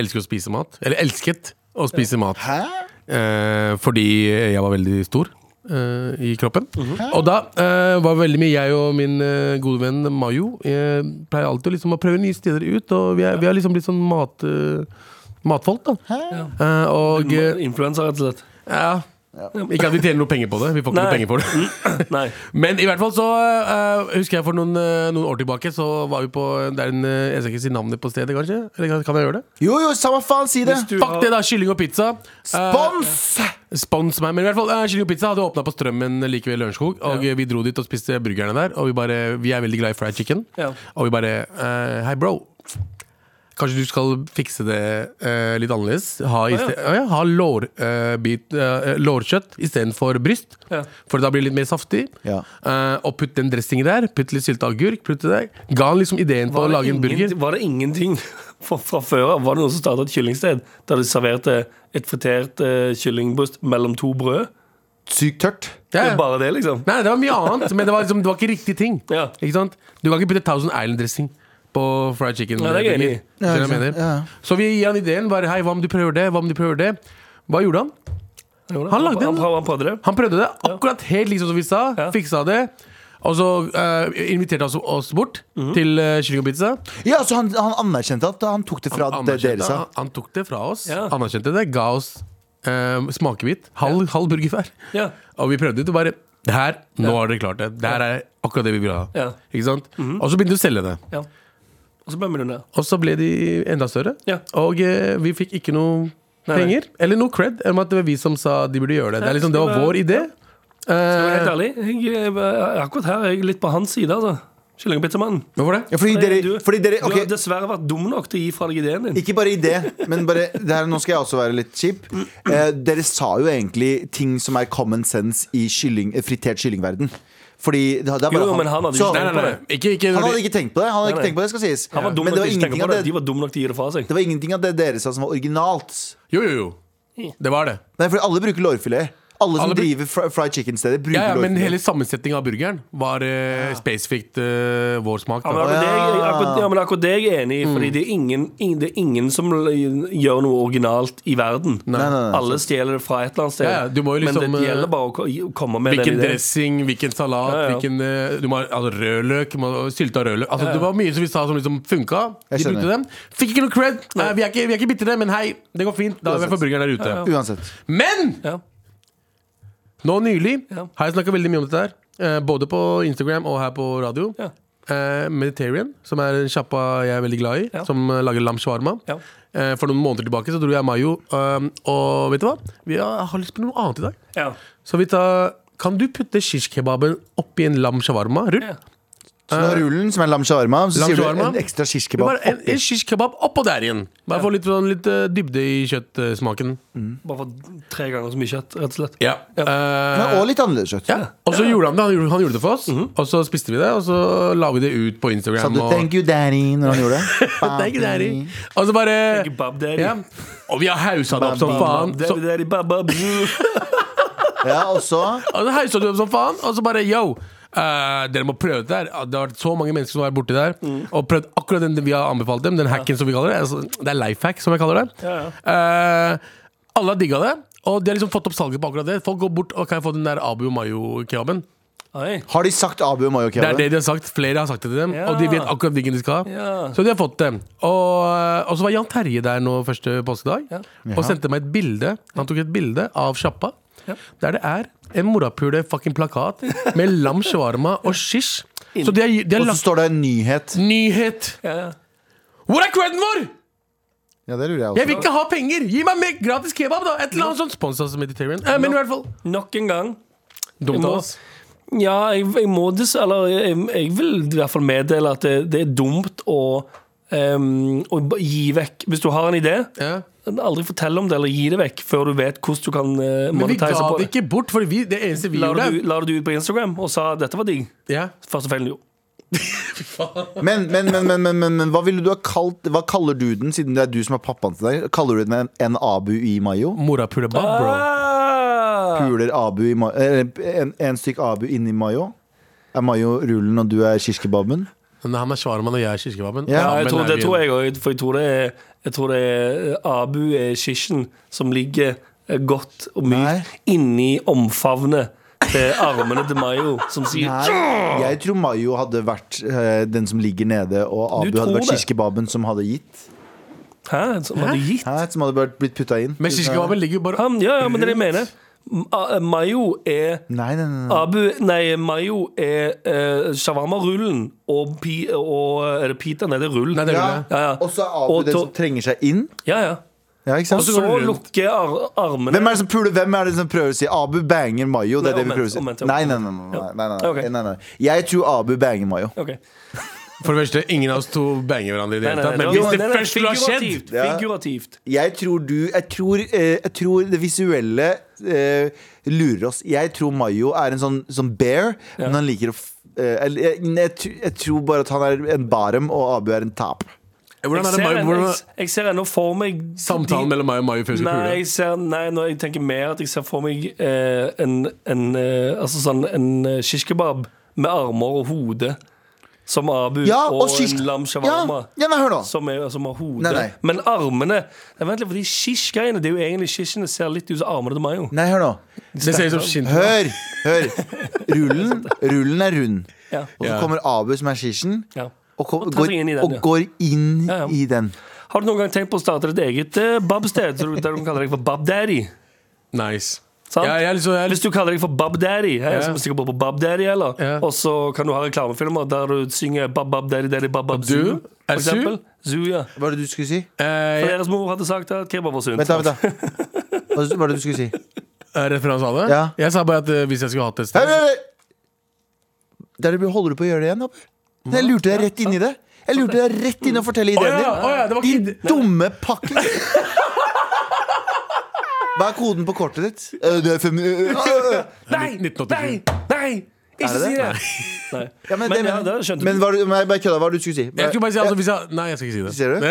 D: elsker å spise mat. Eller elsket å spise mat. Eh, fordi jeg var veldig stor eh, i kroppen.
C: Mhm.
D: Og da eh, var veldig mye jeg og min eh, gode venn Mayo eh, pleier alltid liksom å prøve nye steder ut. Og vi er, vi er liksom blitt sånn mat, eh, matfolk, da. Eh, og eh,
E: Influenser, rett og slett.
D: ja. Ikke at vi tjener noe penger på det. Vi får ikke noe
E: Nei. Mm.
D: penger for det.
E: Nei.
D: Men i hvert fall så eh, husker jeg for noen, eh, noen år tilbake Så var vi på Det er en eh, Jeg skal ikke si navnet på stedet, kanskje? Eller kan- kan jeg gjøre det?
C: Jo, jo, samme faen, si det!
E: Du
D: Fuck
E: har-
D: det, da! Kylling og pizza. Eh,
C: Spons!
D: Spons meg. Men i hvert fall, eh, Kylling og pizza hadde åpna på Strømmen like ved Lørenskog. Og eh, vi dro dit og spiste burgerne der. Og vi bare Vi er veldig glad i fried chicken.
E: Ja.
D: Og vi bare eh, Hei, bro. Kanskje du skal fikse det eh, litt annerledes? Ha, i ste- ja. ja, ha lår, eh, bit- eh, lårkjøtt istedenfor bryst.
E: Ja.
D: For da blir det litt mer saftig.
C: Ja.
D: Eh, og putt den dressingen der. Putt litt sylta agurk. Putt det der. Ga han liksom ideen på å
E: det
D: lage en burger.
E: ingen- Var det ingenting fra, fra før av? Var det noen som startet et kyllingsted der de serverte et fritert eh, kyllingbryst mellom to brød?
C: Sykt tørt.
D: Ja,
E: Det
D: ja.
E: er Bare det, liksom?
D: Nei, det var mye annet, men det var, liksom, det var ikke riktig ting.
E: Ja.
D: Ikke sant? Du kan ikke putte Thousand Island-dressing på fried chicken.
E: Ja, det er jeg enig i.
D: Skjønner du hva jeg mener? Så vi gir han ideen. Bare, Hei, hva om du prøver det? Hva om du prøver det? Hva gjorde han? Han lagde den.
E: han, prøv- han prøvde det.
D: Han prøvde det akkurat helt liksom som vi sa.
E: Ja.
D: Fiksa det. Og så eh, inviterte han oss- oss bort
E: Mhm.
D: til eh, kylling og pizza.
C: Ja, så han, han anerkjente at han tok det fra
D: Han
C: det dere
D: anerkjente-
C: sa.
D: Han, han tok det fra oss,
E: Ja.
D: anerkjente det, ga oss eh, smakebit. Halv, halv burger hver.
E: Ja.
D: Og vi prøvde det, og bare Det her, nå har dere klart det. Det her er akkurat det vi vil ha.
E: Ja. Mhm.
D: Ikke sant? Og så begynte de å selge det.
E: ja. Og så ble vi millionær.
D: Og så ble de enda større.
E: Ja.
D: Og eh, vi fikk ikke noe
E: Nei.
D: penger. Eller noe cred om at det var vi som sa de burde gjøre det. Det, er liksom, det var vår idé.
E: Men
D: Eh,
E: Helt ærlig, jeg, jeg, akkurat her er jeg litt på hans side, altså. Kylling og pizzamannen.
D: Hvorfor det?
C: Ja, fordi dere,
E: Du,
C: fordi dere
E: du
C: ok,
E: har dessverre vært dum nok til å gi fra deg ideen din.
C: Ikke bare i det, men bare det her, Nå skal jeg også være litt kjip. Eh, dere sa jo egentlig ting som er common sense i kylling, eh, fritert kyllingverden. Fordi det, det er bare
E: Jo, jo, men han hadde
C: Så-
E: ikke
D: Nei, nei, nei. Ikke, ikke,
C: Han hadde ikke tenkt på det, han hadde
E: Nei,
C: ikke
E: nei.
C: tenkt på det, skal sies.
E: Han var dum
C: Men det
E: nok
C: var,
E: til ikke å
C: ingenting
E: tenke
C: av
E: på
C: det,
E: det. De var dum nok til å gi det fra seg.
C: det var ingenting av det dere sa som var originalt.
D: Jo, jo, jo. Det var det.
C: Nei, for alle bruker lårfilet. Alle som
D: Alle bru-
C: driver fri- fried chicken-steder, bruker
D: Ja, ja, men
C: Dorfman.
D: hele sammensetningen av burgeren var eh, spesifikt eh, vår smak.
E: Ja, men
D: Da.
E: akkurat det, jeg, akkurat, ja, men akkurat det er jeg enig i,
C: Mm.
E: Fordi det er, ingen, ingen, det er ingen som l- gjør noe originalt i verden.
C: Nei, nei, nei.
E: Alle stjeler det fra et eller annet sted.
D: Ja, ja, du må jo liksom,
E: men det
D: eh,
E: gjelder bare å ko- komme med
D: Hvilken
E: den ideen.
D: dressing, hvilken salat,
E: Ja, ja.
D: hvilken eh, du må, ha- altså, rødløk du må ha Sylta rødløk. Altså, Det var mye som vi sa som liksom funka.
C: Jeg
D: De
C: skjønner.
D: brukte dem. Fikk ikke noe cred. Nei, vi, er ikke, vi er ikke bitre, men hei, det går fint. Da har vi fått burgeren der ute.
C: Uansett.
D: Men
E: Ja.
D: nå nylig
E: Ja.
D: har jeg snakka veldig mye om dette her. eh, Både på Instagram og her på radio.
E: Ja.
D: Eh, Mediterranean, som er en sjappa jeg er veldig glad i,
E: Ja.
D: som eh, lager lam shawarma.
E: Ja.
D: Eh, For noen måneder tilbake så dro jeg og Mayo, eh, og vet du hva? Vi har, har lyst på noe annet i dag.
E: Ja.
D: Så vi tar Kan du putte shishkebaben oppi en lam shawarma? Rull.
E: Ja.
C: Så du har rullen, som er lam shawarma, så
D: Lam
C: sier du
D: shawarma.
C: en ekstra shish
D: Vi
C: kebab
D: bare en,
C: oppi.
D: en shishkebab oppå der igjen. Bare få litt, sånn, litt eh, dybde i kjøttsmaken.
C: Mm.
E: Bare for tre ganger så mye kjøtt, rett og slett.
D: Ja.
C: Men,
D: Eh,
C: og litt annerledes kjøtt.
D: ja. Og så gjorde han det. Han gjorde, han gjorde det for oss. Og så spiste vi det, og så la vi det ut på
C: Mm-hmm. Sa
D: Instagram.
C: du
D: og,
C: 'thank you, daddy' når han gjorde det?
D: Thank you, daddy. Og så bare
E: Ikke Bab Daddy.
D: ja. Og vi har hausa det opp som faen.
E: Daddy,
D: Så,
E: daddy, bab, bab.
C: Ja, og så
D: og så hausa det opp som faen, og så bare yo. eh, dere må prøve det der. Det har vært så mange mennesker som har vært borti der og prøvd akkurat den vi har anbefalt dem. Den hacken som vi kaller det. Altså, det er life hack, som jeg kaller det. Eh, alle har digga det, og de har liksom fått opp salget på akkurat det. Folk går bort og kan jeg få den der Abu Mayo-kebaben.
E: Oi.
C: Har de sagt Abu og Mayo
D: Det er det
C: kebab?
D: de har sagt. Flere har sagt det til dem,
E: Ja.
D: og de vet akkurat hvilken de skal ha.
E: Ja.
D: Så de har fått det. Og, og så var Jan Terje der nå første påskedag og sendte meg et bilde. Han tok et bilde av sjappa. Der det er en morapule fucking plakat med lam shawarma og shish. Så de har, de har
C: Og så
D: lagt
C: står det en nyhet.
D: Nyhet!
E: Ja.
D: Hvor er creden vår?!
C: Ja, det lurer jeg
D: Jeg vil
C: også.
D: ikke ha penger! Gi meg mer gratis kebab, da! Et eller annet sånt spons oss, Mediterranean. Eh, men i hvert fall
E: Nok en gang.
D: Dumt
E: må-
D: av oss.
E: Ja, jeg, jeg må dess... Eller jeg, jeg vil i hvert fall meddele at det, det er dumt å em, å ba- gi vekk Hvis du har en idé,
D: Ja.
E: aldri fortell om det eller gi det vekk før du vet hvordan du kan uh,
D: Men vi ga
E: monetise på
D: det
E: det.
D: ikke bort, for vi, det eneste vi
E: La du,
D: gjorde
E: la du ut på Instagram og sa 'dette var digg'.
D: ja.
E: Første feilen du gjorde.
C: Men, men, men, men, men, men, men hva ville du ha kalt Hva kaller du den, siden det er du som er pappaen til deg? Kaller du den en, en Abu i Mayo?
D: Morapulebab, bro.
E: Ah!
C: Puler Abu i Mayo eh, en, en stykk Abu inni Mayo? Er Mayo rullen, og du er shish kebaben?
D: Men han er svarmann, og jeg er kirkebaben.
C: Ja,
E: Ja, jeg
D: men
E: tror,
D: er
E: det
D: vi-
E: tror jeg òg, for jeg tror det er, jeg tror det er eh, Abu er skisjen som ligger eh, godt og
C: Nei.
E: mykt inni omfavnet til armene til Mayo, som sier
C: Nei, jeg tror Mayo hadde vært eh, den som ligger nede, og Abu hadde
E: tror
C: vært
E: det?
C: shish kebaben som hadde gitt.
E: Hæ? Som hadde gitt?
C: Hæ? Som hadde vært- blitt putta inn.
D: Men kirkebaben ligger jo bare
E: Han, ja, ja, men det er det jeg mener. Ma- eh, Mayo er
C: Nei, nei, nei, nei.
E: Abu, nei, Mayo er eh, shawarma-rullen og, pi, og eh, Er det pita? Nei, det er rull.
D: Nei, det er
C: Ja.
D: rull, ja.
E: Ja, ja.
C: Og så er Abu
E: Og
C: den
E: to-
C: som trenger seg inn.
E: Ja, ja.
C: Ja, ikke sant?
E: Og så lukker ar armene
C: Hvem er det som puler? Hvem er det som prøver å si Abu banger Mayo? Det er
E: Nei,
C: det vi
E: omvendt,
C: prøver å si.
E: omvendt,
C: Nei,
E: omvendt.
C: nei, nei. nei, nei, nei,
E: Ja.
C: nei,
E: Ok.
C: nei, nei. Jeg tror Abu banger Mayo.
E: Ok.
D: For det første, ingen av oss to banger hverandre i det
E: Nei,
D: hele
E: nei,
D: tatt.
E: nei,
D: Men
E: det
D: hvis
E: var-
D: det
E: nei, nei,
D: først skulle ha skjedd
E: Figurativt.
C: Ja.
E: figurativt.
C: Jeg tror du Jeg tror, eh, jeg tror det visuelle eh, lurer oss. Jeg tror Mayo er en sånn, sånn bear, men han liker å f- eh, eller, jeg, nei, jeg, tr- jeg tror bare at han er en barem, og Abu er en tap.
D: Hvordan er
E: Jeg
D: det
E: ser,
D: Mayo-
E: en,
D: hvordan
E: jeg, jeg ser ennå for meg de-
D: Samtalen mellom meg og Mayo før vi skulle
E: Nei,
D: pule.
E: jeg ser, nei, når jeg tenker mer at jeg ser for meg eh, en, en, eh, altså sånn, en eh, shish kebab med armer og hode, som Abu,
C: Ja,
E: og,
C: og shish-
E: en lam
C: Ja,
E: shawarma.
C: ja, nei, hør nå.
E: Som, er, som har hodet.
C: Nei, nei.
E: Men armene nei, Vent litt, for de shish-greiene Det er jo egentlig shishene ser litt ut som armene til Mayo.
C: Nei, hør nå.
D: Det ser ut som skinn.
C: Hør! hør Rullen, rullen er rund.
E: Ja.
C: Og så
D: Ja.
C: kommer Abu, som er shishen,
E: Ja.
C: og, kom,
E: Og tar
C: går,
E: seg inn i den,
C: og
E: ja.
C: går inn
E: Ja, ja.
C: i den.
E: Har du noen gang tenkt på å starte ditt eget eh, bab-sted, så du- der du kaller deg for Bab-daddy?
D: Nice.
E: Sant?
D: Ja, jeg er liksom, jeg er
E: Hvis du kaller deg for Bob Daddy, jeg er
D: Ja.
E: som sikker på Bob Daddy, eller?
D: Ja.
E: Og så kan du ha reklamefilmer der du synger Bob Bob Daddy Daddy Bob Bob
D: du?
E: Zoo.
D: Er
E: For
D: det Zoo?
E: eksempel. Zoo, ja.
C: Hva er det du skulle si?
D: eh,
E: For
D: jeg-
E: deres mor hadde sagt at kebab var sunt.
C: Vent, da, vent da. Hva hva er det du skulle si?
D: er det for han sa det?
C: Ja.
D: Jeg sa bare at eh, hvis jeg skulle hatt
C: Hei,
D: et sted
C: hei, hei! Der du blir- holder du på å gjøre det igjen, Abu. Jeg lurte deg rett inn i det. Jeg lurte deg rett inn og fortelle
D: Å
C: ideen
D: ja,
C: din.
D: å ja, det var ikke
C: Din dumme pakke. Hva er koden på kortet ditt? Eh, Det er fem... eh, eh, eh.
E: Nei!
D: 1987.
E: Nei! Ikke
C: det
E: si
C: det?
E: det! Nei.
C: Ja, men,
E: Men
C: det,
E: ja, det skjønte
C: men
E: du.
C: hva, du- men jeg bare kødda. Hva var det du skulle si?
D: Jeg skulle bare si altså, hvis jeg, Nei, jeg skal ikke si det.
C: Ser du? Du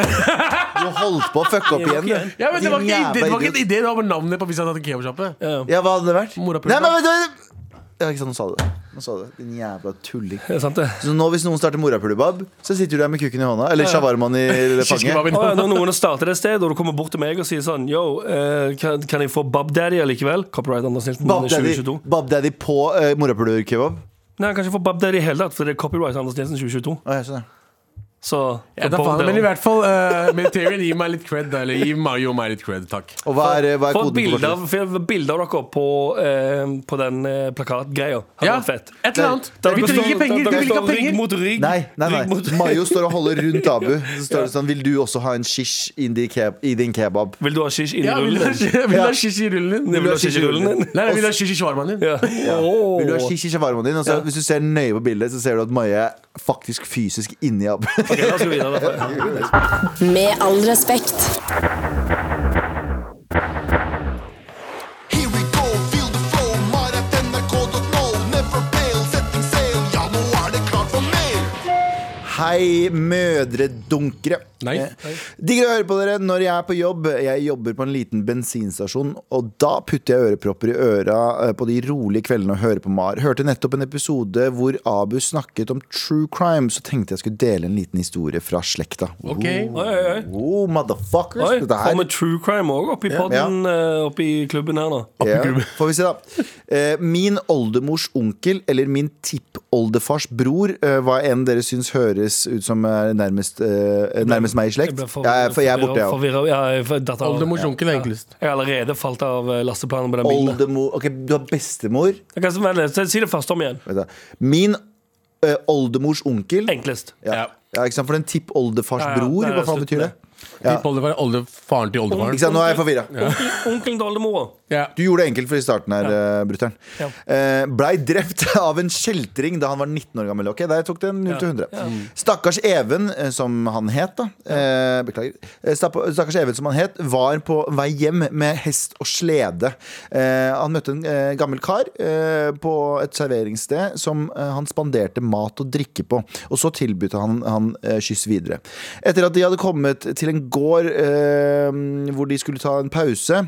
C: holdt på å fucke opp igjen. du.
D: Ja, men det var
C: Din
D: ikke,
C: jævla
D: det var ikke
C: idiot.
D: en idé det var med navnet på hvis jeg hadde hatt en kebabsjappe.
C: Ja, hva hadde det vært?
D: Morapuler.
C: Nei, men, men, men, ja, ikke sant, nå sa du det. Nå sa du det. Din jævla tulling.
E: Det er sant, det.
C: Så nå hvis noen starter morapulebab, så sitter du der med kukken i hånda. Eller shawarmaen i fanget.
D: Kirsebabben.
E: Å, ja, når noen starter et sted, og du kommer bort til meg og sier sånn Yo, eh, kan, kan jeg få Babdaddy allikevel? Copyright Anders Nilsen
C: Bab Daddy-
E: 2022.
C: Bab Daddy på uh, morapulekebab.
E: Nei, jeg kan ikke få Babdaddy i hele tatt, for det er copyright Anders Nilsen 2022.
C: Å, sånn, jeg skjønner.
E: Så
D: Ja, da faen, men i hvert fall, eh, men Tyrion, gi meg litt cred. da, Eller gi Mario og meg litt cred, takk.
C: Og hva er, eh, hva er
E: Få et
C: koden på
E: bilde
C: forskjell?
E: av, få et bilde av dere på, eh, på den eh, plakatgreia. Hadde
D: Ja,
E: vært fett.
D: et eller annet.
E: Der
D: Vi
E: dere
D: trenger
E: står-
D: penger!
E: der
D: Vi
E: dere
D: vil ikke
E: står
D: ha penger!
E: Rygg mot rygg.
C: Nei, nei,
E: Rygg mot
C: nei.
E: rygg.
C: Mayo står og holder rundt Abu. Så står det sånn Vil du også ha en shish i din keb- i din kebab?
E: Vil du ha shish inni
D: Ja, vil du ha
E: rullen?
D: vil du ha shish i rullen
E: Vil
D: din?
E: du ha shish i rullen din?
D: Nei, nei, vil du ha shish i shawarmaen din?
E: Ja. Åh.
C: Vil du ha shish i shawarmaen din? Og så, Hvis du ser nøye på bildet, så ser du at Maye er faktisk fysisk inni Abu.
E: Ok, la oss gå videre derfra.
G: Med all respekt.
H: Here we go, feel the flow, mar at nrk.no. Never fail, setting sail, ja nå er det klart for mer.
C: Hei, mødredunkere.
D: Nei.
C: Eh, Digger å høre på dere når jeg er på jobb. Jeg jobber på en liten bensinstasjon, og da putter jeg ørepropper i øra eh, på de rolige kveldene og hører på Mar. Hørte nettopp en episode hvor Abu snakket om true crime, så tenkte jeg skulle dele en liten historie fra slekta.
D: Ok.
C: Oh,
E: Oi, oi, oi.
C: oh, motherfuckers,
E: Oi,
C: dette her.
E: Får vi true crime òg oppi podden, eh, oppi klubben her nå?
C: Ja, får vi se, da. Eh, min oldemors onkel, eller min tippoldefars bror, eh, hva enn dere syns høres ut som er nærmest, eh, nærmest meg i slekt.
E: ble for-
C: Jeg, er- for jeg er borte, jeg òg.
E: forvirret. Ja, jeg, for- dette har-
D: Oldemors onkel er enklest.
E: jeg har allerede falt av eh, lasteplanen på den bilen.
C: Oldemor Ok, du har bestemor.
E: Jeg kan, vent litt, si det først om igjen.
C: Vet du. Min eh, oldemors onkel
E: Enklest.
C: ja. ja, ikke sant? For en tippoldefars
E: Ja, ja,
C: bror,
E: det er
C: hva faen
E: slutt
C: betyr det?
D: Tipp oldefar, olde, faren til
C: Ikke
D: oldefaren.
C: sant, Nå er jeg forvirra.
E: Onkel, onkelen til oldemora.
D: Ja.
C: Du gjorde det enkelt for i starten her, eh, brutter'n.
E: Ja.
C: Eh, Blei drept av en kjeltring da han var 19 år gammel. Ok, Der tok det 0 til 100. Stakkars Even, eh, som han het, da. Eh, beklager. Eh, stapp- Stakkars Even, som han het, var på vei hjem med hest og slede. Eh, han møtte en eh, gammel kar eh, på et serveringssted som eh, han spanderte mat og drikke på. Og så tilbød han han eh, kyss videre. Etter at de hadde kommet til en gård eh, hvor de skulle ta en pause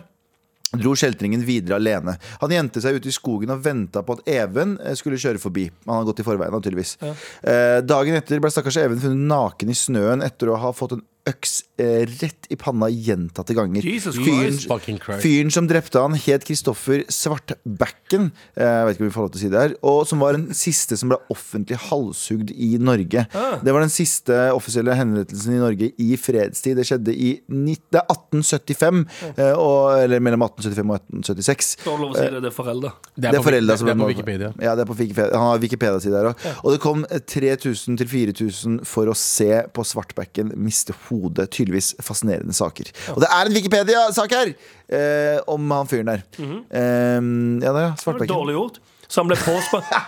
C: dro kjeltringen videre alene. Han gjemte seg ute i skogen og venta på at Even eh, skulle kjøre forbi. Han hadde gått i forveien, naturligvis. Eh, dagen etter ble stakkars Even funnet naken i snøen etter å ha fått en øks eh, rett i panna gjentatte ganger.
E: Jesus
D: Christ, fucking Christ.
C: fyren som drepte han, het Kristoffer Svartbacken. Eh, jeg vet ikke om vi får lov til å si det her. Og som var den siste som ble offentlig halshugd i Norge. Det var den siste offisielle henrettelsen i Norge i fredstid. Det skjedde i nitt- det er 1875, eh, og, eller mellom 1875 og 1876.
E: Da er det lov å si det, det er foreldre.
C: Det er
D: på Wiki-
C: foreldre som
D: det er på
C: ble-
D: Wikipedia.
C: Ja, det er på Wikipedia. Han har Wikipedia-side der òg. Og det kom 3000 til 4000 for å se på Svartbekken miste hodet. Tydeligvis fascinerende saker. Og det er en Wikipedia-sak her! Eh, om han fyren der. eh, ja, der, ja.
E: Mhm. Det var
C: Svartbekken.
E: Dårlig gjort. Så han ble, påspa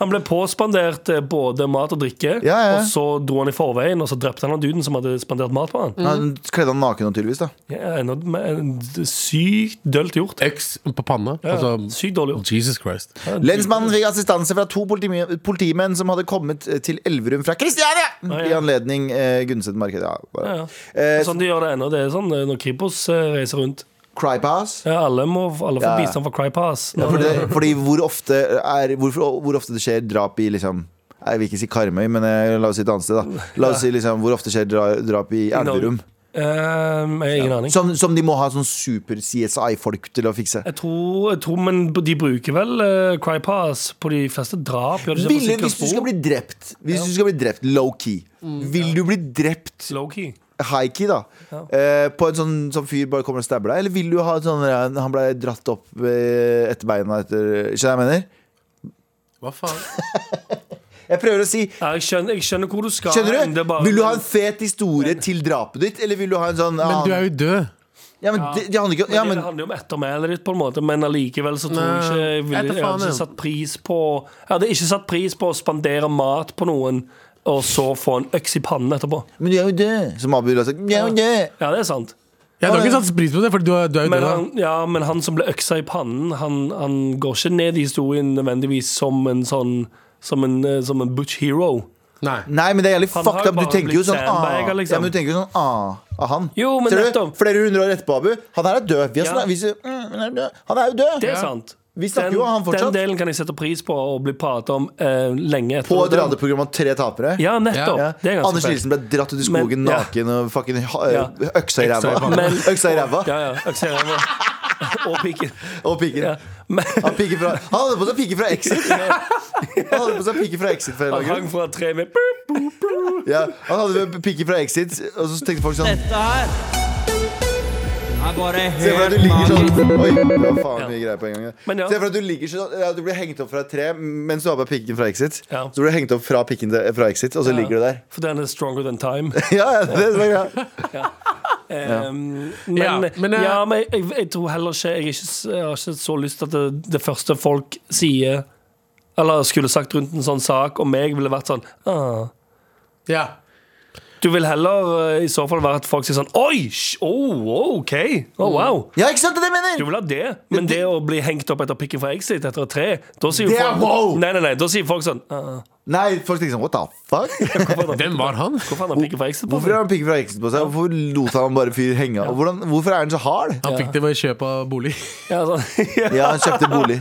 E: han ble påspandert eh, både mat og drikke,
C: Ja, ja.
E: og så dro han i forveien, og så drepte han han duden som hadde spandert mat på han.
C: Han kledde han naken, naturligvis. da
E: Ja, enda men- sykt dølt gjort.
D: Øks på panna.
E: Ja,
D: Altså,
E: sykt dårlig gjort.
D: Jesus Christ.
C: Lensmannen fikk assistanse fra to politime- politimenn som hadde kommet eh, til Elverum fra Kristiania! I
E: ja.
C: anledning eh, Gunnset marked. Ja,
E: Ja,
C: bare.
E: ja.
C: Eh,
E: Sånn de gjør det ennå. Det er sånn eh, når Kripos eh, reiser rundt.
C: Crypass.
E: Ja, alle, må, alle får
C: Ja.
E: bistand fra Crypass.
C: Ja, fordi, fordi hvor ofte er, hvor, hvor ofte det skjer drap i liksom Jeg vil ikke si Karmøy, men eh, la oss si et annet sted. da La oss si liksom, Hvor ofte skjer dra, drap i Elverum?
E: Ehm, jeg har ingen aning.
C: Som, som de må ha sånn super-CSI-folk til å fikse.
E: Jeg tror, jeg tror, men de bruker vel eh, Crypass på de fleste drap? Gjør de ikke
C: Ville, hvis du skal bli drept, Hvis du skal bli drept low-key Vil du bli drept
E: Slowkey.
C: high-key, da? Eh, på en sånn som fyr bare kommer og stabber deg? Eller vil du ha et sånn eh, Han ble dratt opp eh, etter beina etter Skjønner du hva jeg mener?
D: Hva faen?
C: Jeg prøver å si
E: Ja, jeg, skjønner, jeg skjønner hvor du skal. men
C: Skjønner
E: det
C: du?
E: er bare-
C: Vil du ha en fet historie til drapet ditt, eller vil du ha en sånn
D: Men du er jo død.
C: Ja, men det, det handler ikke om ja,
E: Men
C: men,
E: Det handler jo om ettermælet ditt, på en måte men allikevel så tror jeg ikke jeg,
D: Nei,
E: ville,
D: etter
E: jeg hadde
D: faen, ja.
E: ikke satt pris på Jeg hadde ikke satt pris på å spandere mat på noen, og så få en øks i pannen etterpå.
C: men du er jo død, som Abu ville ha sagt. Du er jo død.
E: Ja, det er sant.
D: Jeg har ikke satt pris på det, for du er, du er jo
E: Men
D: død. da.
E: han, ja, men han som ble øksa i pannen, han, han går ikke ned i historien nødvendigvis som en sånn Som en, eh, som en butch hero.
D: Nei.
C: Nei, men det er jævlig
E: Han har
C: fucked
E: jo
C: up. Du
E: bare
C: tenker jo
E: blitt
C: sånn ah,
E: sandbagger, liksom.
C: ja, men du tenker jo sånn ah av han.
E: Jo, men
C: Ser du?
E: nettopp.
C: Flere hundre år etterpå, Abu. Han her er død. Vi har
E: Ja.
C: snakket- vi sier, mm, han er død. Han er jo død.
E: Det er sant.
C: Vi snakker jo om han fortsatt.
E: den delen kan jeg sette pris på og bli pratet om eh, lenge etter.
C: På et
E: den.
C: radioprogram om tre tapere.
E: Ja, nettopp.
C: Ja.
E: Det er ganske
C: Anders
E: fett.
C: Nilsen ble dratt ut i skogen
E: Men- ja.
C: naken og fucking ha,
E: Ja.
C: øksa i ræva.
E: Men-
C: Øksa i ræva
E: Ja, ja. Øksa i ræva. Og pikken.
C: og piken.
E: Ja. Men
C: Han, piker fra, han hadde på seg piker fra Exit. Han hadde på seg piker fra Exit for en
E: han
C: eller annen
E: hang
C: grunn.
E: fra tre med boop, boop, boop.
C: ja, Han hadde piker fra Exit, og så tenkte folk sånn
B: Dette her er bare
C: Se for deg at
B: helt
C: du ligger
B: magisk.
C: sånn Oi, det var faen mye greier på en gang ja.
E: Men ja.
C: Se for deg at du ligger sånn ja, Du blir hengt opp fra et tre mens du har på deg pikken fra Exit.
E: Ja.
C: Så blir du hengt opp fra pikken til, fra Exit, og så ligger du der.
E: For den er stronger than time.
C: Ja, ja, det er så bra.
E: Um, men,
D: Ja,
E: ja,
D: men,
E: men,
D: eh,
E: jeg, jeg, jeg tror heller ikke Jeg, er ikke, s- jeg har ikke så lyst til at det, det første folk sier Eller skulle sagt rundt en sånn sak om meg, ville vært sånn ah.
D: Ja.
E: Du vil heller eh, i så fall være at folk sier sånn Oi! sj- Oh, OK! Oh, wow!
C: ja, ikke sant det er det jeg
E: Du
C: mener?
E: vil ha det, men det, å bli hengt opp etter pikken fra Exit etter et tre Da sier, jo
C: Det er
E: folk,
C: wow!
E: nei, nei, nei, da sier folk sånn ah,
C: Nei, folk tenker sånn What the fuck?
D: Hvem var han?
E: Hvorfor har han pikken fra Exit? på
C: Hvorfor
E: seg?»
C: har han pikken fra Exit på seg? Hvorfor lot han bare fyr henge av? Hvordan, hvorfor er han så hard?
D: Han fikk det ved kjøp av bolig.
E: Ja, sånn, ja.
C: Ja, han kjøpte bolig.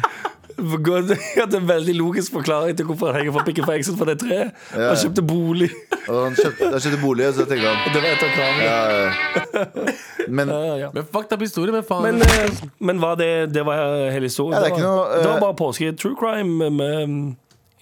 E: Good. Jeg hadde en veldig logisk forklaring til hvorfor han henger fra pikken fra Exit fra det treet. Han kjøpte bolig.
C: Og han kjøpte, han kjøpte bolig, og så tenkte han
E: Det var et av kravene.
C: Men
E: Ja, ja.
D: Men fuck up historie, men faen.
E: Men, eh, men var det, det var hele historien?
C: Ja, det er ikke noe,
E: var,
C: eh,
E: det var bare påske true crime med um,